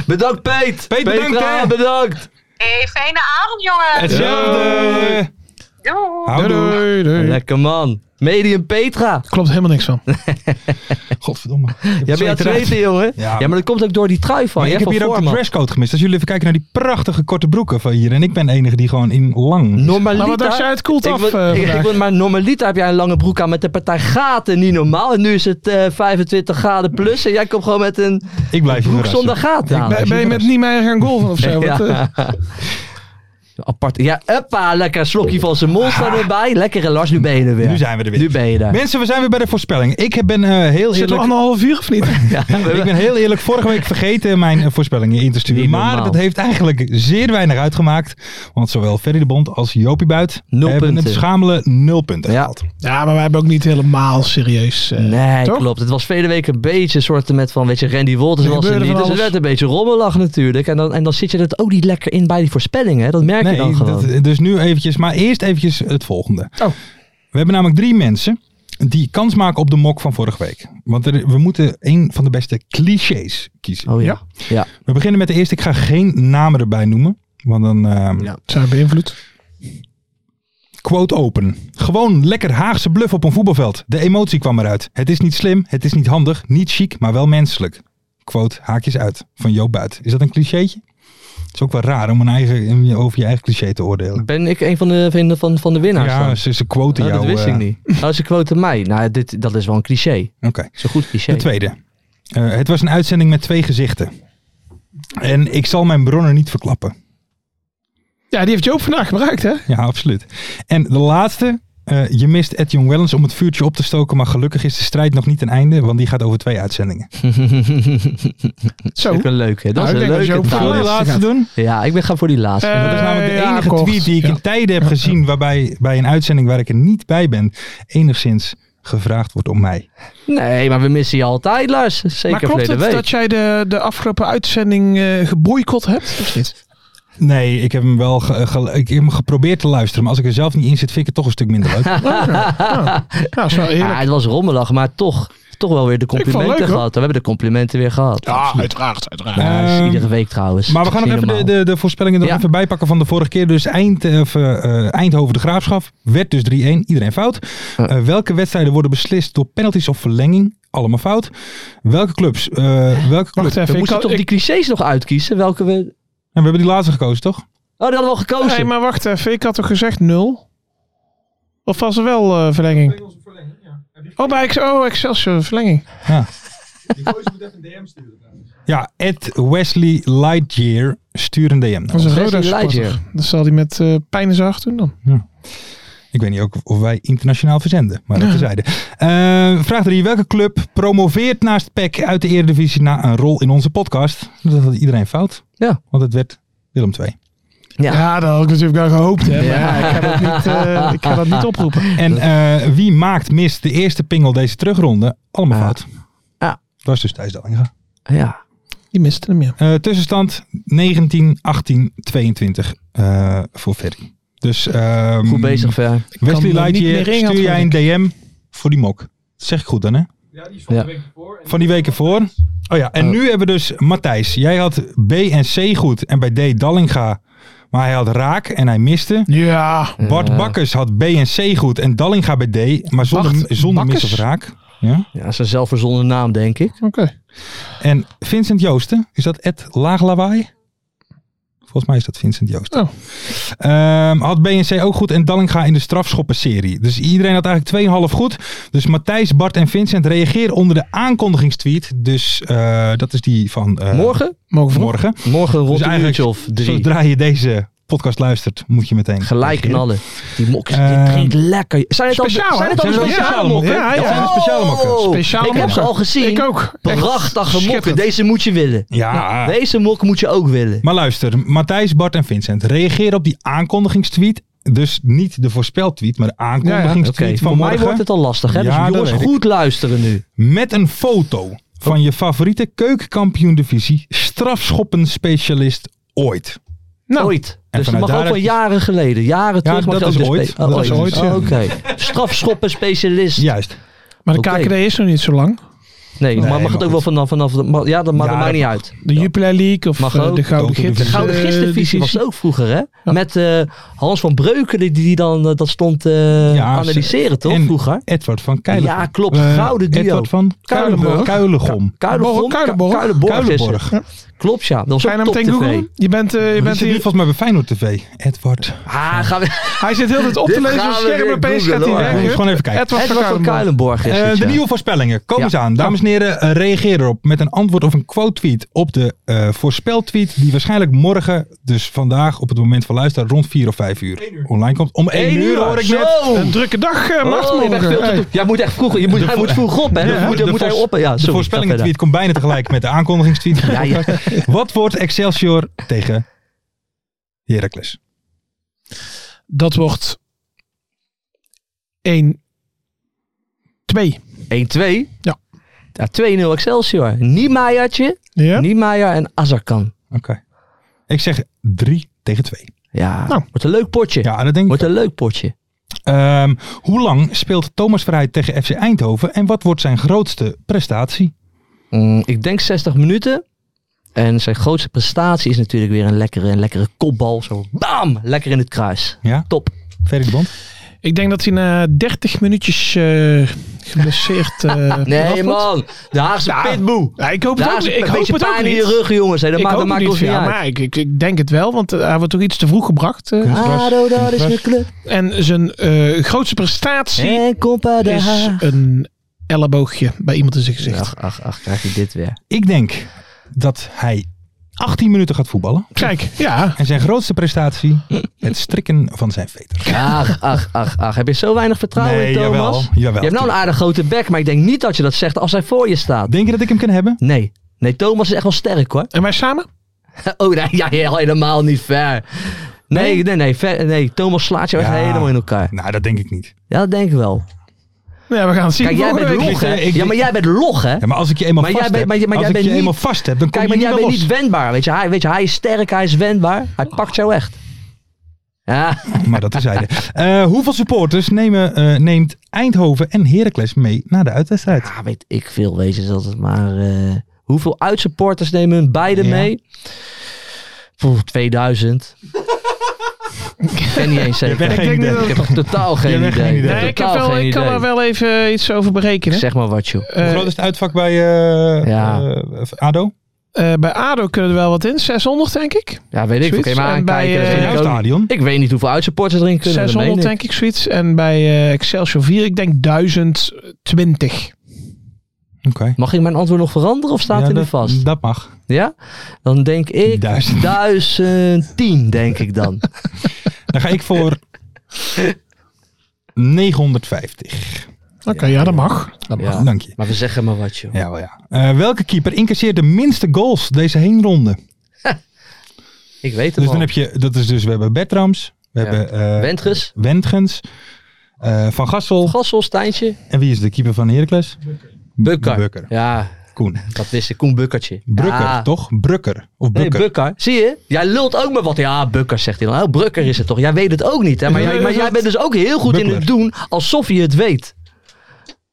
C: Bedankt Peet.
B: Peet, bedankt,
C: Petra,
B: hè.
C: bedankt.
F: Hey, fijne avond, jongens.
B: Hetzelfde.
F: Doei.
B: Houdoe.
D: doei, doei.
C: Lekker man. Medium Petra.
D: Klopt helemaal niks van.
B: Godverdomme. Ik
C: Jij bent aan
B: zweet
C: het
B: eruit.
C: zweten, jongen.
B: Ja.
C: Ja, maar dat komt ook door die trui
B: Ah.
C: van
B: Maar
C: je.
B: ik
C: hè,
B: heb
C: van
B: hier ook de
C: Voorman.
B: dresscode gemist. Als jullie even kijken naar die prachtige korte broeken van hier. En ik ben de enige die gewoon in lang... is.
C: Normalita.
D: Maar wat dacht jij? Het koelt
C: ik
D: af,
C: wil- (laughs)
D: eh,
C: ik- ik
D: vandaag.
C: wil- maar normalita heb jij een lange broek aan met de partij gaten. Niet normaal. En nu is het eh, 25 graden plus. En jij komt gewoon met een
B: Ik blijf je
C: broek zonder
B: verrassen.
C: gaten aan. (laughs)
D: Ben, ben je met Niemeyer gaan golven of zo? Wat, eh,
C: Ja. Apart. Ja, uppa. Lekker slokje van zijn monster erbij. Lekker Lars, nu ben je er weer.
B: Nu zijn we er weer.
C: Nu ben je
B: (laughs)
C: er.
B: Mensen, we zijn weer bij de voorspelling. Ik ben eh, heel
D: Zitten we
B: eerlijk...
D: anderhalf uur of niet?
C: Ja, we hebben-
B: (laughs) Ik ben heel eerlijk vorige week vergeten mijn eh, voorspellingen in te sturen.
C: Niet
B: Maar
C: normaal.
B: dat heeft eigenlijk zeer weinig uitgemaakt. Want zowel Ferry de Bond als Jopie Buit
C: Nul
B: hebben
C: punten.
B: het schamele nul punten.
C: Ja.
D: Ja, maar wij hebben ook niet helemaal serieus. eh,
C: Nee,
D: toch?
C: klopt. Het was vele weken een beetje een soort met van, weet je, Randy Wolters
D: Er
C: was er
D: gebeurde
C: niet.
D: van
C: Dus het
D: alles.
C: werd een beetje rommelag natuurlijk. En dan, en dan zit je dat ook niet lekker in bij die voorspellingen. hè. Dat merk je dan
B: Nee,
C: gewoon.
B: dat- dus nu eventjes, maar eerst eventjes het volgende.
D: Oh.
B: We hebben namelijk drie mensen die kans maken op de mok van vorige week. Want er- we moeten een van de beste clichés kiezen.
C: Oh ja. Ja.
B: We beginnen met de eerste. Ik ga geen namen erbij noemen. Want dan ehm,
C: Ja.
D: Zijn beïnvloed.
B: Quote open. Gewoon lekker Haagse bluff op een voetbalveld. De emotie kwam eruit. Het is niet slim, het is niet handig, niet chic, maar wel menselijk. Quote haakjes uit van Joop Buit. Is dat een clichétje? Het is ook wel raar om een eigen, om je- over je eigen cliché te oordelen.
C: Ben ik een van de, van, van, van de winnaars
B: Ja,
C: dan?
B: ze, ze quoten
C: Oh,
B: jou.
C: Nou, dat wist
B: eh,
C: ik (laughs) niet. Oh, ze quote mij. Nou, dit, dat is wel een cliché. Dat
B: Oké.
C: is een goed cliché.
B: De
C: (laughs)
B: tweede. Eh, het was een uitzending met twee gezichten. En ik zal mijn bronnen niet verklappen.
D: Ja, die heeft Joop vandaag gebruikt, hè?
B: Ja, absoluut. En de laatste. eh, je mist Ed Jong Wellens om het vuurtje op te stoken. Maar gelukkig is de strijd nog niet een einde. Want die gaat over twee uitzendingen.
D: Zo.
C: Dat is een leuke. Dat
D: Nou,
C: is
D: ik
C: een
D: denk dat je
C: leuke.
D: ook
B: Zullen
D: voor
C: taal.
B: we die laatste doen?
C: Ja, ik ben gaan voor die laatste.
D: Eh,
B: Dat is namelijk de
D: ja,
B: enige
D: kort.
B: tweet die ik
D: Ja.
B: in tijden heb gezien waarbij bij een uitzending waar ik er niet bij ben, enigszins gevraagd wordt om mij.
C: nee, maar we missen je altijd, Lars. Zeker
D: Maar klopt
C: verleden
D: het
C: week.
D: dat jij de, de afgelopen uitzending eh geboycott hebt? Of niet?
B: Nee, ik heb hem wel ge- ge- ik heb hem geprobeerd te luisteren, maar als ik er zelf niet in zit, vind ik het toch een stuk minder leuk.
D: Ja, is wel
C: Ah,
D: eerlijk.
C: het was rommelig, maar toch, toch wel weer de
D: vond het
C: complimenten
D: leuk, hoor.
C: gehad. We hebben de complimenten weer gehad.
D: Ja, Ehm, uiteraard, uiteraard.
C: (laughs) Ja, dat is iedere week trouwens.
B: Maar we gaan nog
C: Niet
B: even de,
C: normaal.
B: de, de voorspellingen er
C: Ja.
B: even bijpakken van de vorige keer. Dus Eind, of, eh, eh, Eindhoven de Graafschap werd dus 3-1. Iedereen fout.
C: Ja.
B: Eh, welke wedstrijden worden beslist door penalties of verlenging? Allemaal fout. Welke clubs? eh, welke club?
D: Wacht even,
C: We
D: ik
C: moesten
D: kan,
C: toch
D: ik,
C: die clichés nog uitkiezen, welke we...
B: En
C: Oh,
B: we hebben die laatste gekozen, toch?
C: die hadden we al gekozen.
D: nee, maar wacht even, ik had toch gezegd nul? Of was er wel eh, verlenging? Oh, bij Ex oh, Excelsior, verlenging.
B: Ja, at Wesley Lightyear stuur een Nou, DM. naar
D: Dat is
B: ons.
D: een
C: Wesley
D: Roda supporter.
C: Lightyear.
D: Dat zal hij met eh pijn in zijn hart doen dan.
B: Ik weet niet ook of wij internationaal verzenden, maar dat terzijde. Eh vraag 3. Welke club promoveert naast PEC uit de Eredivisie na een rol in onze podcast? Dat had iedereen fout.
C: Ja.
B: Want het werd Willem 2.
C: Ja.
D: Ja, dat had ik natuurlijk wel gehoopt. Hè, maar ja. ik, ga dat niet, eh, ik ga dat niet oproepen.
B: En eh, wie maakt mis de eerste pingel deze terugronde? Allemaal
C: Ah.
B: fout.
C: Ah.
B: Dat was dus Thijs Dallinga.
C: Ja.
D: Die miste hem, ja.
B: Eh, tussenstand 19, 18, 22 eh, voor Ferry. Dus, ehm,
C: Goed bezig, Ver.
D: kan
B: Wesley
D: me niet
B: Lightyear,
D: meer in gaan,
B: stuur jij een
D: vond
B: DM voor die mok. Dat zeg ik goed dan, hè?
C: Ja.
B: Van die weken voor. Oh ja, en
C: Oh.
B: nu hebben we dus Matthijs. Jij had B en C goed en bij D Dallinga. Maar hij had raak en hij miste.
D: Ja.
B: Bart
C: Ja.
B: Bakkers had B en C goed en Dallinga bij D. Maar zonder,
D: Bart
B: zonder mis of
D: Bakkers?
B: raak. Ja.
C: Ja, zijn zelfverzonnen naam, denk ik.
D: Oké.
B: En Vincent Joosten. Is dat Ed Laaglawaai? Volgens mij is dat Vincent Joosten.
D: Oh.
B: Ehm, had B en C ook goed en Dallinga in de strafschoppenserie. Dus iedereen had eigenlijk 2,5 goed. Dus Matthijs, Bart en Vincent reageer onder de aankondigingstweet. Dus eh, dat is die van eh,
C: Morgen?
D: Mogen we
B: morgen.
C: Morgen rond
B: Dus
C: een
B: eigenlijk
C: uurtje of drie.
B: Zodra je deze podcast luistert, moet je meteen...
C: Gelijk
B: reageren.
C: knallen. Die mok dit
B: Ehm,
C: drinkt lekker. Zijn het al,
D: speciaal,
B: Nou,
C: zijn het
D: hè?
C: al
D: Zijn
C: speciale,
D: het speciale
C: mokken?
D: mokken? Ja,
B: Dat
D: ja.
B: zijn de
C: Oh!
B: speciale mokken.
D: Speciale
C: ik heb ze
D: mokken.
C: al gezien.
D: Ik ook. Echt
C: Prachtige mokken.
D: schitterend.
C: Deze moet je willen.
B: Ja.
C: Deze mok moet je ook willen.
B: Maar luister, Matthijs, Bart en Vincent, reageer op die aankondigingstweet. Dus niet de voorspeltweet, maar de
C: Oké,
B: aankondigingstweet van
C: voor mij
B: morgen.
C: wordt het al lastig. Hè?
B: Ja, dat
C: dus jongens,
B: weet ik.
C: goed luisteren nu.
B: Met een foto van je favoriete keukenkampioen-divisie strafschoppenspecialist ooit.
D: Nou,
C: ooit.
B: en
C: Dus dat
B: vanuit
C: mag
B: daar
C: ook wel
B: heb je-
C: jaren geleden. Jaren terug mag
B: dat
C: je ook
B: is
C: de spe-
B: ooit.
C: Oh,
B: Dat is ooit, ja.
C: Oh, Oké. Strafschoppen specialist.
B: Juist.
D: Maar de
C: Oké.
D: KKD is nog niet zo lang.
C: Nee,
B: Nee,
C: maar mag
B: maar
C: het ook wel
B: goed.
C: vanaf... vanaf de- maar- ja, dat, maar
B: Ja,
C: dat
B: dat
C: maakt niet uit.
D: De
C: Ja.
D: Jupiler League of
C: Mag
D: eh,
C: ook.
D: de
B: Gouden
D: Gouden Gids.
B: Divisie.
C: Gouden
D: eh,
C: Gistervisie was
D: divisie.
C: ook vroeger, hè? Met eh, Hans van Breukelen, die dan eh, dat stond eh,
B: Ja,
C: analyseren, toch?
B: en-
C: vroeger.
B: Edward van Kuilen.
C: Ja, klopt. Gouden duo.
B: Edward van
C: Kuilenborg.
B: Kuilenborg.
C: Kuilenborg.
D: Kuilenborg.
C: Kuilenborg. is het.
B: Kuilenborg.
C: Klopt, ja. Dat was
D: Ga je
C: ook
D: nou
C: top
D: meteen
C: tv.
D: googlen? Je bent, eh, je
B: Die
D: bent
B: zit nu
D: hier...
B: volgens mij bij Feyenoord TV. Edward.
C: Ah, gaan we...
D: Hij zit heel de tijd op te
C: Dit
D: lezen
C: gaan
D: op
C: we
D: scherm.
C: weer
D: en Opeens gaat hij
C: googlen,
D: weg.
C: hoor.
D: hup.
B: Gewoon even kijken.
C: (laughs)
D: Edward
C: Edward van
D: van Kuilenborg.
C: Kuilenborg is
B: Eh,
C: het,
B: de
C: ja.
B: nieuwe voorspellingen. Kom
C: Ja.
B: eens aan. Dames en heren, eh, reageer erop met een antwoord of een quote-tweet op de eh voorspeltweet. Die waarschijnlijk morgen, dus vandaag op het moment van luisteren, rond 4 of 5 uur, online komt. Om 1 uur, hoor ik net.
C: Zo!
D: Een drukke dag, eh, Mart,
C: Oh, je bent veel
D: morgen.
C: te
D: Hey.
C: doen. Jij moet echt vroeg, je moet, hij moet vroeg op, hè?
B: De-
C: Dan moet,
B: de
C: dan moet hij
B: voors-
C: op. Ja, sorry,
B: de
C: ga verder.
B: voorspellingstweet komt bijna tegelijk met de aankondigingstweet.
C: (laughs) Ja, ja.
B: Wat wordt Excelsior tegen Heracles?
D: Dat wordt 1, 2.
C: 1-2.
D: Ja.
C: Ja, 2-0 Excelsior. Niemeiertje,
D: Ja?
C: Niemeyer en Azarkan.
B: Oké. Ik zeg 3 tegen 2.
C: Ja,
D: Nou.
C: wordt een leuk potje.
B: Ja, dat denk ik.
C: Wordt een leuk potje.
B: Ehm, hoe lang speelt Thomas Verheid tegen FC Eindhoven en wat wordt zijn grootste prestatie?
C: Mm, ik denk 60 minuten. En zijn grootste prestatie is natuurlijk weer een lekkere, een lekkere kopbal. Zo bam! Lekker in het kruis.
B: Ja?
C: Top.
B: Ferry de Bond?
D: Ik denk dat hij na 30 minuutjes eh, geblesseerd eh,
C: (laughs)
D: eraf
C: Nee
D: moet.
C: man, de Haagse
D: Ja.
C: pitboe.
D: Ja, ik hoop
C: De
D: het ook,
C: Haagse
D: ik
C: een
D: hoop
C: beetje
D: het ook
C: pijn in
D: niet.
C: je rug jongens. hè. Dat
D: ik
C: maakt,
D: hoop
C: dat
D: het
C: maakt
D: niet,
C: ons niet
D: ja,
C: uit.
D: maar ik, ik, ik denk het wel, want eh, hij wordt toch iets te vroeg gebracht. eh.
C: Ado, dat is mijn club.
D: En zijn eh, grootste prestatie
C: En compa de
D: is
C: Haag.
D: een elleboogje bij iemand in zijn gezicht.
C: Ach, ach, ach, krijg je dit weer.
B: Ik denk dat hij 18 minuten gaat voetballen.
D: Kijk, ja.
B: En zijn grootste prestatie, het strikken van zijn veter.
C: Ach, ach, ach, ach. Heb je zo weinig vertrouwen in Thomas?
B: jawel,
C: Je
B: jawel.
C: hebt nou een aardig grote bek, maar ik denk niet dat je dat zegt als hij voor je staat.
B: Denk je dat ik hem kan hebben?
C: Nee. Nee, Thomas is echt wel sterk hoor.
D: En wij samen?
C: (laughs) Oh, nee, ja, helemaal niet ver. Nee, nee, nee, ver, nee. Thomas slaat jou echt
B: Ja.
C: helemaal in elkaar.
B: Nou, dat denk ik niet.
C: Ja, dat denk ik wel.
D: Ja, we gaan het zien.
C: Kijk, jij
D: volgende
C: bent
D: week.
C: log, hè?
B: ik-
C: Ja, maar jij bent log, hè?
B: Ja, maar als ik je eenmaal
C: Maar jij
B: vast
C: bent-
B: heb,
C: maar je- maar
B: als
C: jij
B: ik je
C: bent
B: eenmaal
C: niet-
B: vast heb, dan kom
C: Kijk, maar
B: je
C: jij
B: niet
C: bent
B: meer
C: niet Oh.
B: los.
C: wendbaar, weet je. Hij, weet je. hij is sterk, hij is wendbaar. Hij pakt jou echt. Ja,
B: Maar dat terzijde. Eh hoeveel supporters nemen, eh, neemt Eindhoven en Heracles mee naar de uitwedstrijd?
C: ja, weet ik veel, wezen ze altijd maar... eh, hoeveel uitsupporters nemen hun beide
B: Ja.
C: mee? Poeh, 2000. (laughs) ik ken niet eens zeker.
B: bent
C: Ik
B: geen
C: denk
B: idee.
C: niet dat- Ik heb totaal geen
B: bent
C: idee.
B: geen idee.
D: Nee, ik, heb
C: Totaal
D: wel,
C: geen
D: ik kan
C: idee.
D: daar wel even iets over berekenen.
C: Zeg maar wat, joh.
D: Eh,
B: Hoe groot is het uitvak bij eh,
C: Ja.
B: eh, ADO?
D: eh, bij ADO kunnen er wel wat in. 600 denk ik.
C: Ja, weet ik. veel. Oké,
D: Zoiets.
C: maar
D: En bij,
C: aankijken. dat
D: eh,
C: vind
B: In
C: ik
B: jouw
C: ook niet.
B: stadion?
C: Ik weet niet hoeveel uitsupporters erin kunnen. dat
D: 600
C: meen ik.
D: denk ik zoiets. En bij eh, Excelsior 4 ik denk 1020.
B: Oké.
C: Mag ik mijn antwoord nog veranderen of staat
B: Ja,
C: hij er
B: dat-
C: vast?
B: Dat mag.
C: Ja? Dan denk ik
B: Duizend.
C: 1010, denk ik
B: (laughs)
C: dan.
B: Dan ga ik
C: (laughs)
B: voor 950.
D: Oké, ja, dat mag.
C: Dat
B: mag. Dank je.
C: Maar we zeggen maar wat, joh.
B: Ja, wel ja. Eh, welke keeper incasseert de minste goals deze heenronde?
C: Ik weet het
B: Dus
C: wel.
B: dan heb je, dat is dus, we hebben Bertrams, we
C: Ja.
B: hebben eh,
C: Wendges,
B: Wendgens, eh, Van Gassel.
C: Gassel, Stijntje,
B: En wie is de keeper van Heracles?
C: Bukker.
B: Bukker.
C: Ja,
B: Koen.
C: Dat wist ik, Koen Bukkertje.
B: Brukker,
C: Ja.
B: toch? Brukker. Of
C: Nee,
B: Bukker.
C: Bukker. Zie je? Jij lult ook maar wat. Ja, Bukker zegt hij dan. Oh, Brukker is het toch? Jij weet het ook niet. Hè? Maar, jij, maar jij bent dus ook heel goed in het
B: Bukkler.
C: doen alsof je het weet.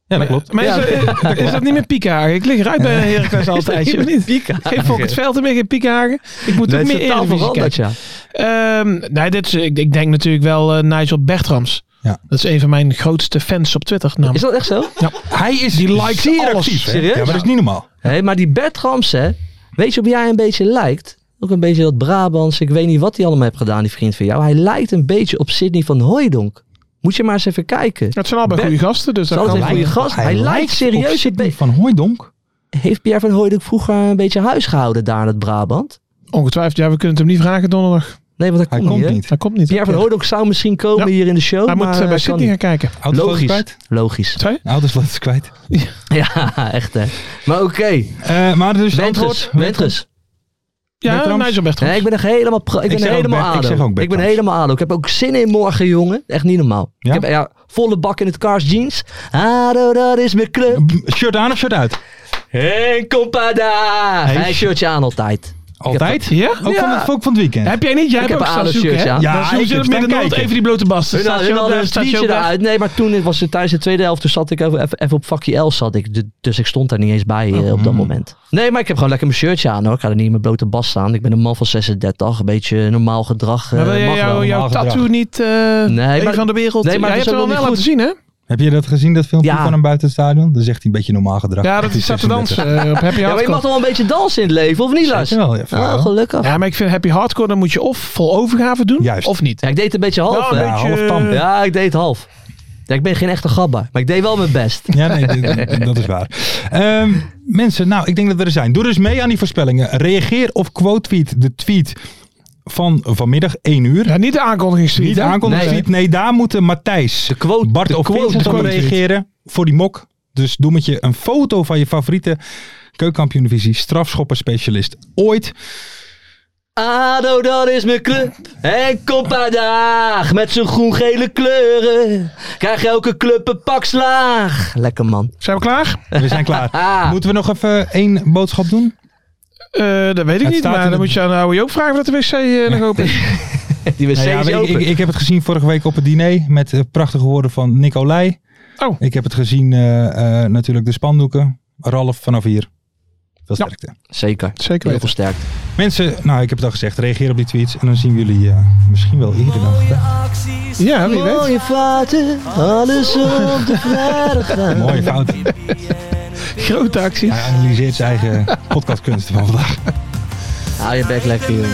B: ja, dat klopt.
D: Maar is,
C: Ja, (laughs)
D: er- is dat niet meer Piekhagen? Ik lig eruit bij Heracles altijd, of niet?
C: Piekhagen.
D: Geen Volkert Veld meer, geen Piekhagen. Ik moet
C: Dat
D: ook
C: is
D: meer
C: totaal
D: Eredivisie
C: veranderd,
D: kijken.
C: ja.
D: Ehm, nee, dit is, ik, ik denk natuurlijk wel eh, Nigel Bertrams.
B: Ja.
D: Dat is een van mijn grootste fans op Twitter. namelijk.
C: Is dat echt zo?
B: Hij is die
D: likes alles.
B: Ja,
C: Serieus?
B: maar dat is niet normaal.
C: Hé, maar die Bertrams, hè. Weet je op wie hij een beetje lijkt? Ook een beetje dat Brabants. Ik weet niet wat hij allemaal heeft gedaan, die vriend van jou. Hij lijkt een beetje op Sidney van Hooijdonk. Moet je maar eens even kijken.
D: Het zijn allebei
C: Ber-
D: goede gasten, dus dat
C: Zal
D: kan
C: het een
D: wel.
C: goede gast? Hij, lijkt
B: op
C: serieus een
B: Sidney
C: beetje.
B: van Hooidonk.
C: Heeft Pierre van Hooijdonk vroeger een beetje huis gehouden daar in het Brabant?
D: Ongetwijfeld, ja, we kunnen het hem niet vragen donderdag.
C: Nee, want dat
B: Hij
C: kon
B: komt
C: hè?
B: niet.
D: Hij komt niet.
C: Pierre van Hooydonk zou misschien komen
D: Ja.
C: hier in de show.
D: Hij moet
C: maar
D: eh, bij
C: kan
D: Sydney gaan
C: niet.
D: kijken.
B: Autosleutel is
C: Logisch.
B: kwijt.
C: Logisch. (laughs)
D: Twee?
B: Autosleutel is kwijt.
C: Ja, echt hè. Maar oké,
B: Eh, maar dus het
C: Wendrus.
B: antwoord-
C: Wendrus.
D: Ja,
B: Bertrams?
D: Nigel Bertrams.
C: Nee, ik ben echt helemaal, pro- ik
B: Ik
C: ben
B: zeg ook
C: helemaal
B: Bert-
C: ado.
B: ik zeg ook
C: ben
B: Bertrams.
C: helemaal ado. Ik heb ook zin in morgen, jongen. Echt niet normaal.
B: Ja?
C: Ik heb ja, volle bak in het Cars jeans. Ado, dat is mijn club.
B: B- Shirt aan of shirt uit?
C: Hey, compada.
B: Hey.
C: Hij shirtje aan altijd.
B: Altijd?
D: Ja?
B: Ook, Van het, ook van het weekend.
D: Heb jij niet? Jij
C: Ik heb
D: hebt ook
C: een
D: staan
C: Ado
D: zoeken,
C: shirt,
D: hè? Dus
C: ja.
B: Ja,
D: Dan zoeken
B: ik heb
D: ze in het
B: staan
D: middenveld
B: kijken.
D: even die blote basten.
C: Hun
D: Staat
C: hadden-
D: je
C: hun
D: ook
C: hadden
D: daar-
C: een
D: staat je
C: tweetje
D: ook daar-
C: eruit. Nee, maar toen was het tijdens de tweede helft. Toen zat ik even, even- even op vakje L. Zat ik, Du- dus ik stond daar niet eens bij eh, op
B: Mm.
C: dat moment. Nee, maar ik heb gewoon lekker mijn shirtje aan hoor. Ik ga er niet in mijn blote bas staan. Ik ben een man van 36. Een beetje normaal gedrag. eh,
D: Maar wil jij
C: mag wel.
D: jou- jouw
B: normaal gedrag.
D: tattoo niet eh
C: Nee,
D: nee,
C: maar-
D: van de wereld?
C: nee, maar
D: jij
C: het
D: hebt
C: is
D: hem
C: ook
D: wel
C: wel
D: laten
C: niet
D: zien, hè?
B: Heb je dat gezien, dat filmpje
C: Ja.
B: van hem buiten het stadion? Dan zegt hij een beetje normaal gedrag.
D: Ja, dat hij staat te dansen eh, op Happy
C: Ja, maar je mag
D: Hardcore.
C: toch wel een beetje dansen in het leven, of niet Lars?
B: Zeker wel, ja, vooral.
C: Ah, gelukkig.
D: Ja, maar ik vind Happy Hardcore, dan moet je of vol overgave doen,
B: Juist.
D: of niet.
C: Ja, ik deed het een beetje half,
D: Nou,
C: hè?
D: een beetje-
B: half tand.
C: Ja, ik deed het half. Ja, ik ben geen echte gabba, maar ik deed wel mijn best.
B: Ja, nee, d- d- dat is waar. Ehm, mensen, nou, ik denk dat we er zijn. Doe dus mee aan die voorspellingen. Reageer op quote tweet, de tweet van vanmiddag 1 uur.
D: Ja, niet de aankondigingstweet.
B: Niet de
D: hè?
B: aankondiging.
C: Nee,
B: Nee, daar moeten Matthijs,
C: De quote-
B: Bart
C: Oh, de
B: of
C: quote-
B: Vincent
C: de
B: op
C: quote tweet.
B: reageren voor die mok. Dus doe met je een foto van je favoriete keukenkampioenvisie strafschopperspecialist ooit.
C: Ado, dat is mijn club. En compadaag met zijn groen-gele kleuren. Krijg elke club een pak slaag. Lekker man.
D: Zijn we klaar?
B: We zijn
C: (laughs)
B: klaar.
C: Ah.
B: Moeten we nog even één boodschap doen?
D: Eh, dat weet ik
B: Het
D: niet,
B: staat
D: maar
B: in
D: dan
B: de-
D: moet je aan de oude Joop vragen of dat de wc eh, nog
C: (laughs)
D: open is.
C: Die wc
B: Nou ja,
C: is
B: ik, ik,
C: open.
B: ik heb het gezien vorige week op het diner met eh, prachtige woorden van Nicolai.
D: Oh.
B: Ik heb het gezien eh, eh, natuurlijk de spandoeken. Ralf vanaf hier. Veel
D: Ja.
B: sterkte.
C: Zeker.
D: Zeker
C: Heel
D: weten.
C: veel sterkte.
B: Mensen, nou ik heb het al gezegd, reageer op die tweets. En dan zien we jullie eh, misschien wel eerder dan vandaag.
D: Ja, wie weet.
C: Mooie vaten, alles op
B: (laughs)
C: de vrijdag.
B: Mooie fout.
D: Grote acties.
B: Hij analyseert zijn
C: (laughs)
B: eigen podcastkunsten van vandaag.
C: Hou je bek lekker, jongen.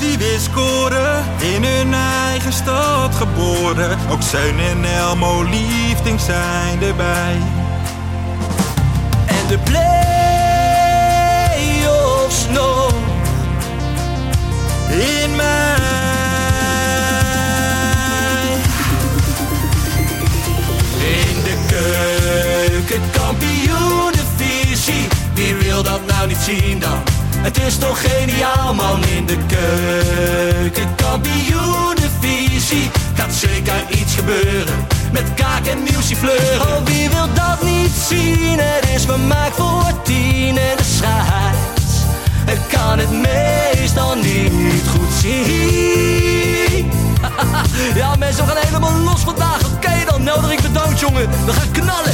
G: Die weer scoren, in hun eigen stad geboren. Ook Zeun en Elmo liefding zijn erbij. En de play-offs nog in mij. In de keuken, kampioenenvisie. Wie wil dat nou niet zien dan? Het is toch geniaal man in de keuken, kampioenenvisie. Gaat zeker iets gebeuren met kaak en nieuwsje fleuren. Oh, wie wil dat niet zien? Het is vermaakt voor tien en de scheids. Ik kan het meestal niet goed zien. Ja, mensen, we gaan helemaal los vandaag. Oké, dan nodig ik bedankt, jongen. We gaan knallen.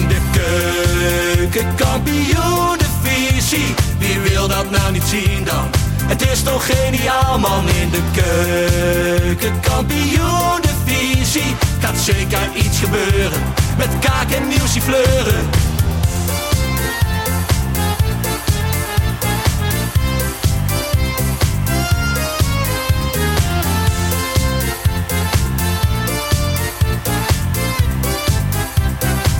G: In de keuken, kampioenenvisie. Wie wil dat nou niet zien dan? Het is toch geniaal, man. In de keuken, kampioenenvisie. Gaat zeker iets gebeuren. Met kaak en nieuwsie fleuren.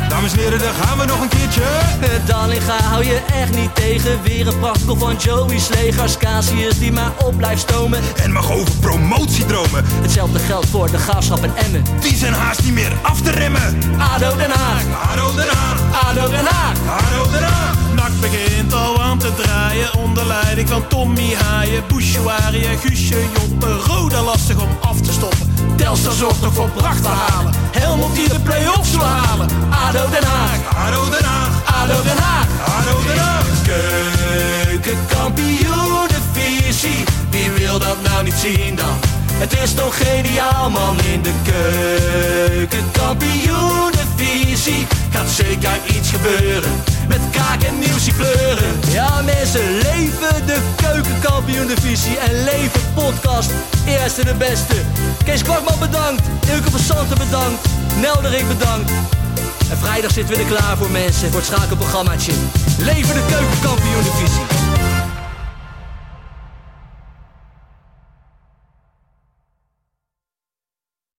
G: Dames en heren, daar gaan we nog een keertje.
C: Eh,
H: Dallinga hou je echt niet tegen. Weer een prachtkel van Joey Slegers. Casius die maar op blijft stomen.
G: En mag over promotiedromen.
H: Hetzelfde geldt voor de graafschap en Emmen.
G: Die zijn haast niet meer af te remmen.
H: Ado Den Haag,
G: Haro eraan,
H: Ado Den Haag.
G: haro eraan.
H: Nak begint al aan te draaien. Onder leiding van Tommy Haaien. Bouchouari en Guusje Joppen. Roda lastig om af te stoppen. Tel
C: Telstar zorgt nog voor pracht te halen. Helmond die de play-offs wil halen. ADO Den Haag. ADO Den Haag. ADO Den Haag. ADO Den Haag. Keukenkampioenenvisie. Wie wil dat nou niet zien dan? Het is toch geniaal man in de keukenkampioenenvisie. Gaat zeker iets gebeuren. Met kaak en nieuws die kleuren.
I: Ja mensen, leven de keukenkampioen divisie en leven podcast. Eerste de beste. Kees Kwakman bedankt. Ilke van Santen bedankt. Nelderik bedankt. En vrijdag zitten we er klaar voor mensen. Voor het schakelprogrammaatje.
C: Leven de keukenkampioenenvisie.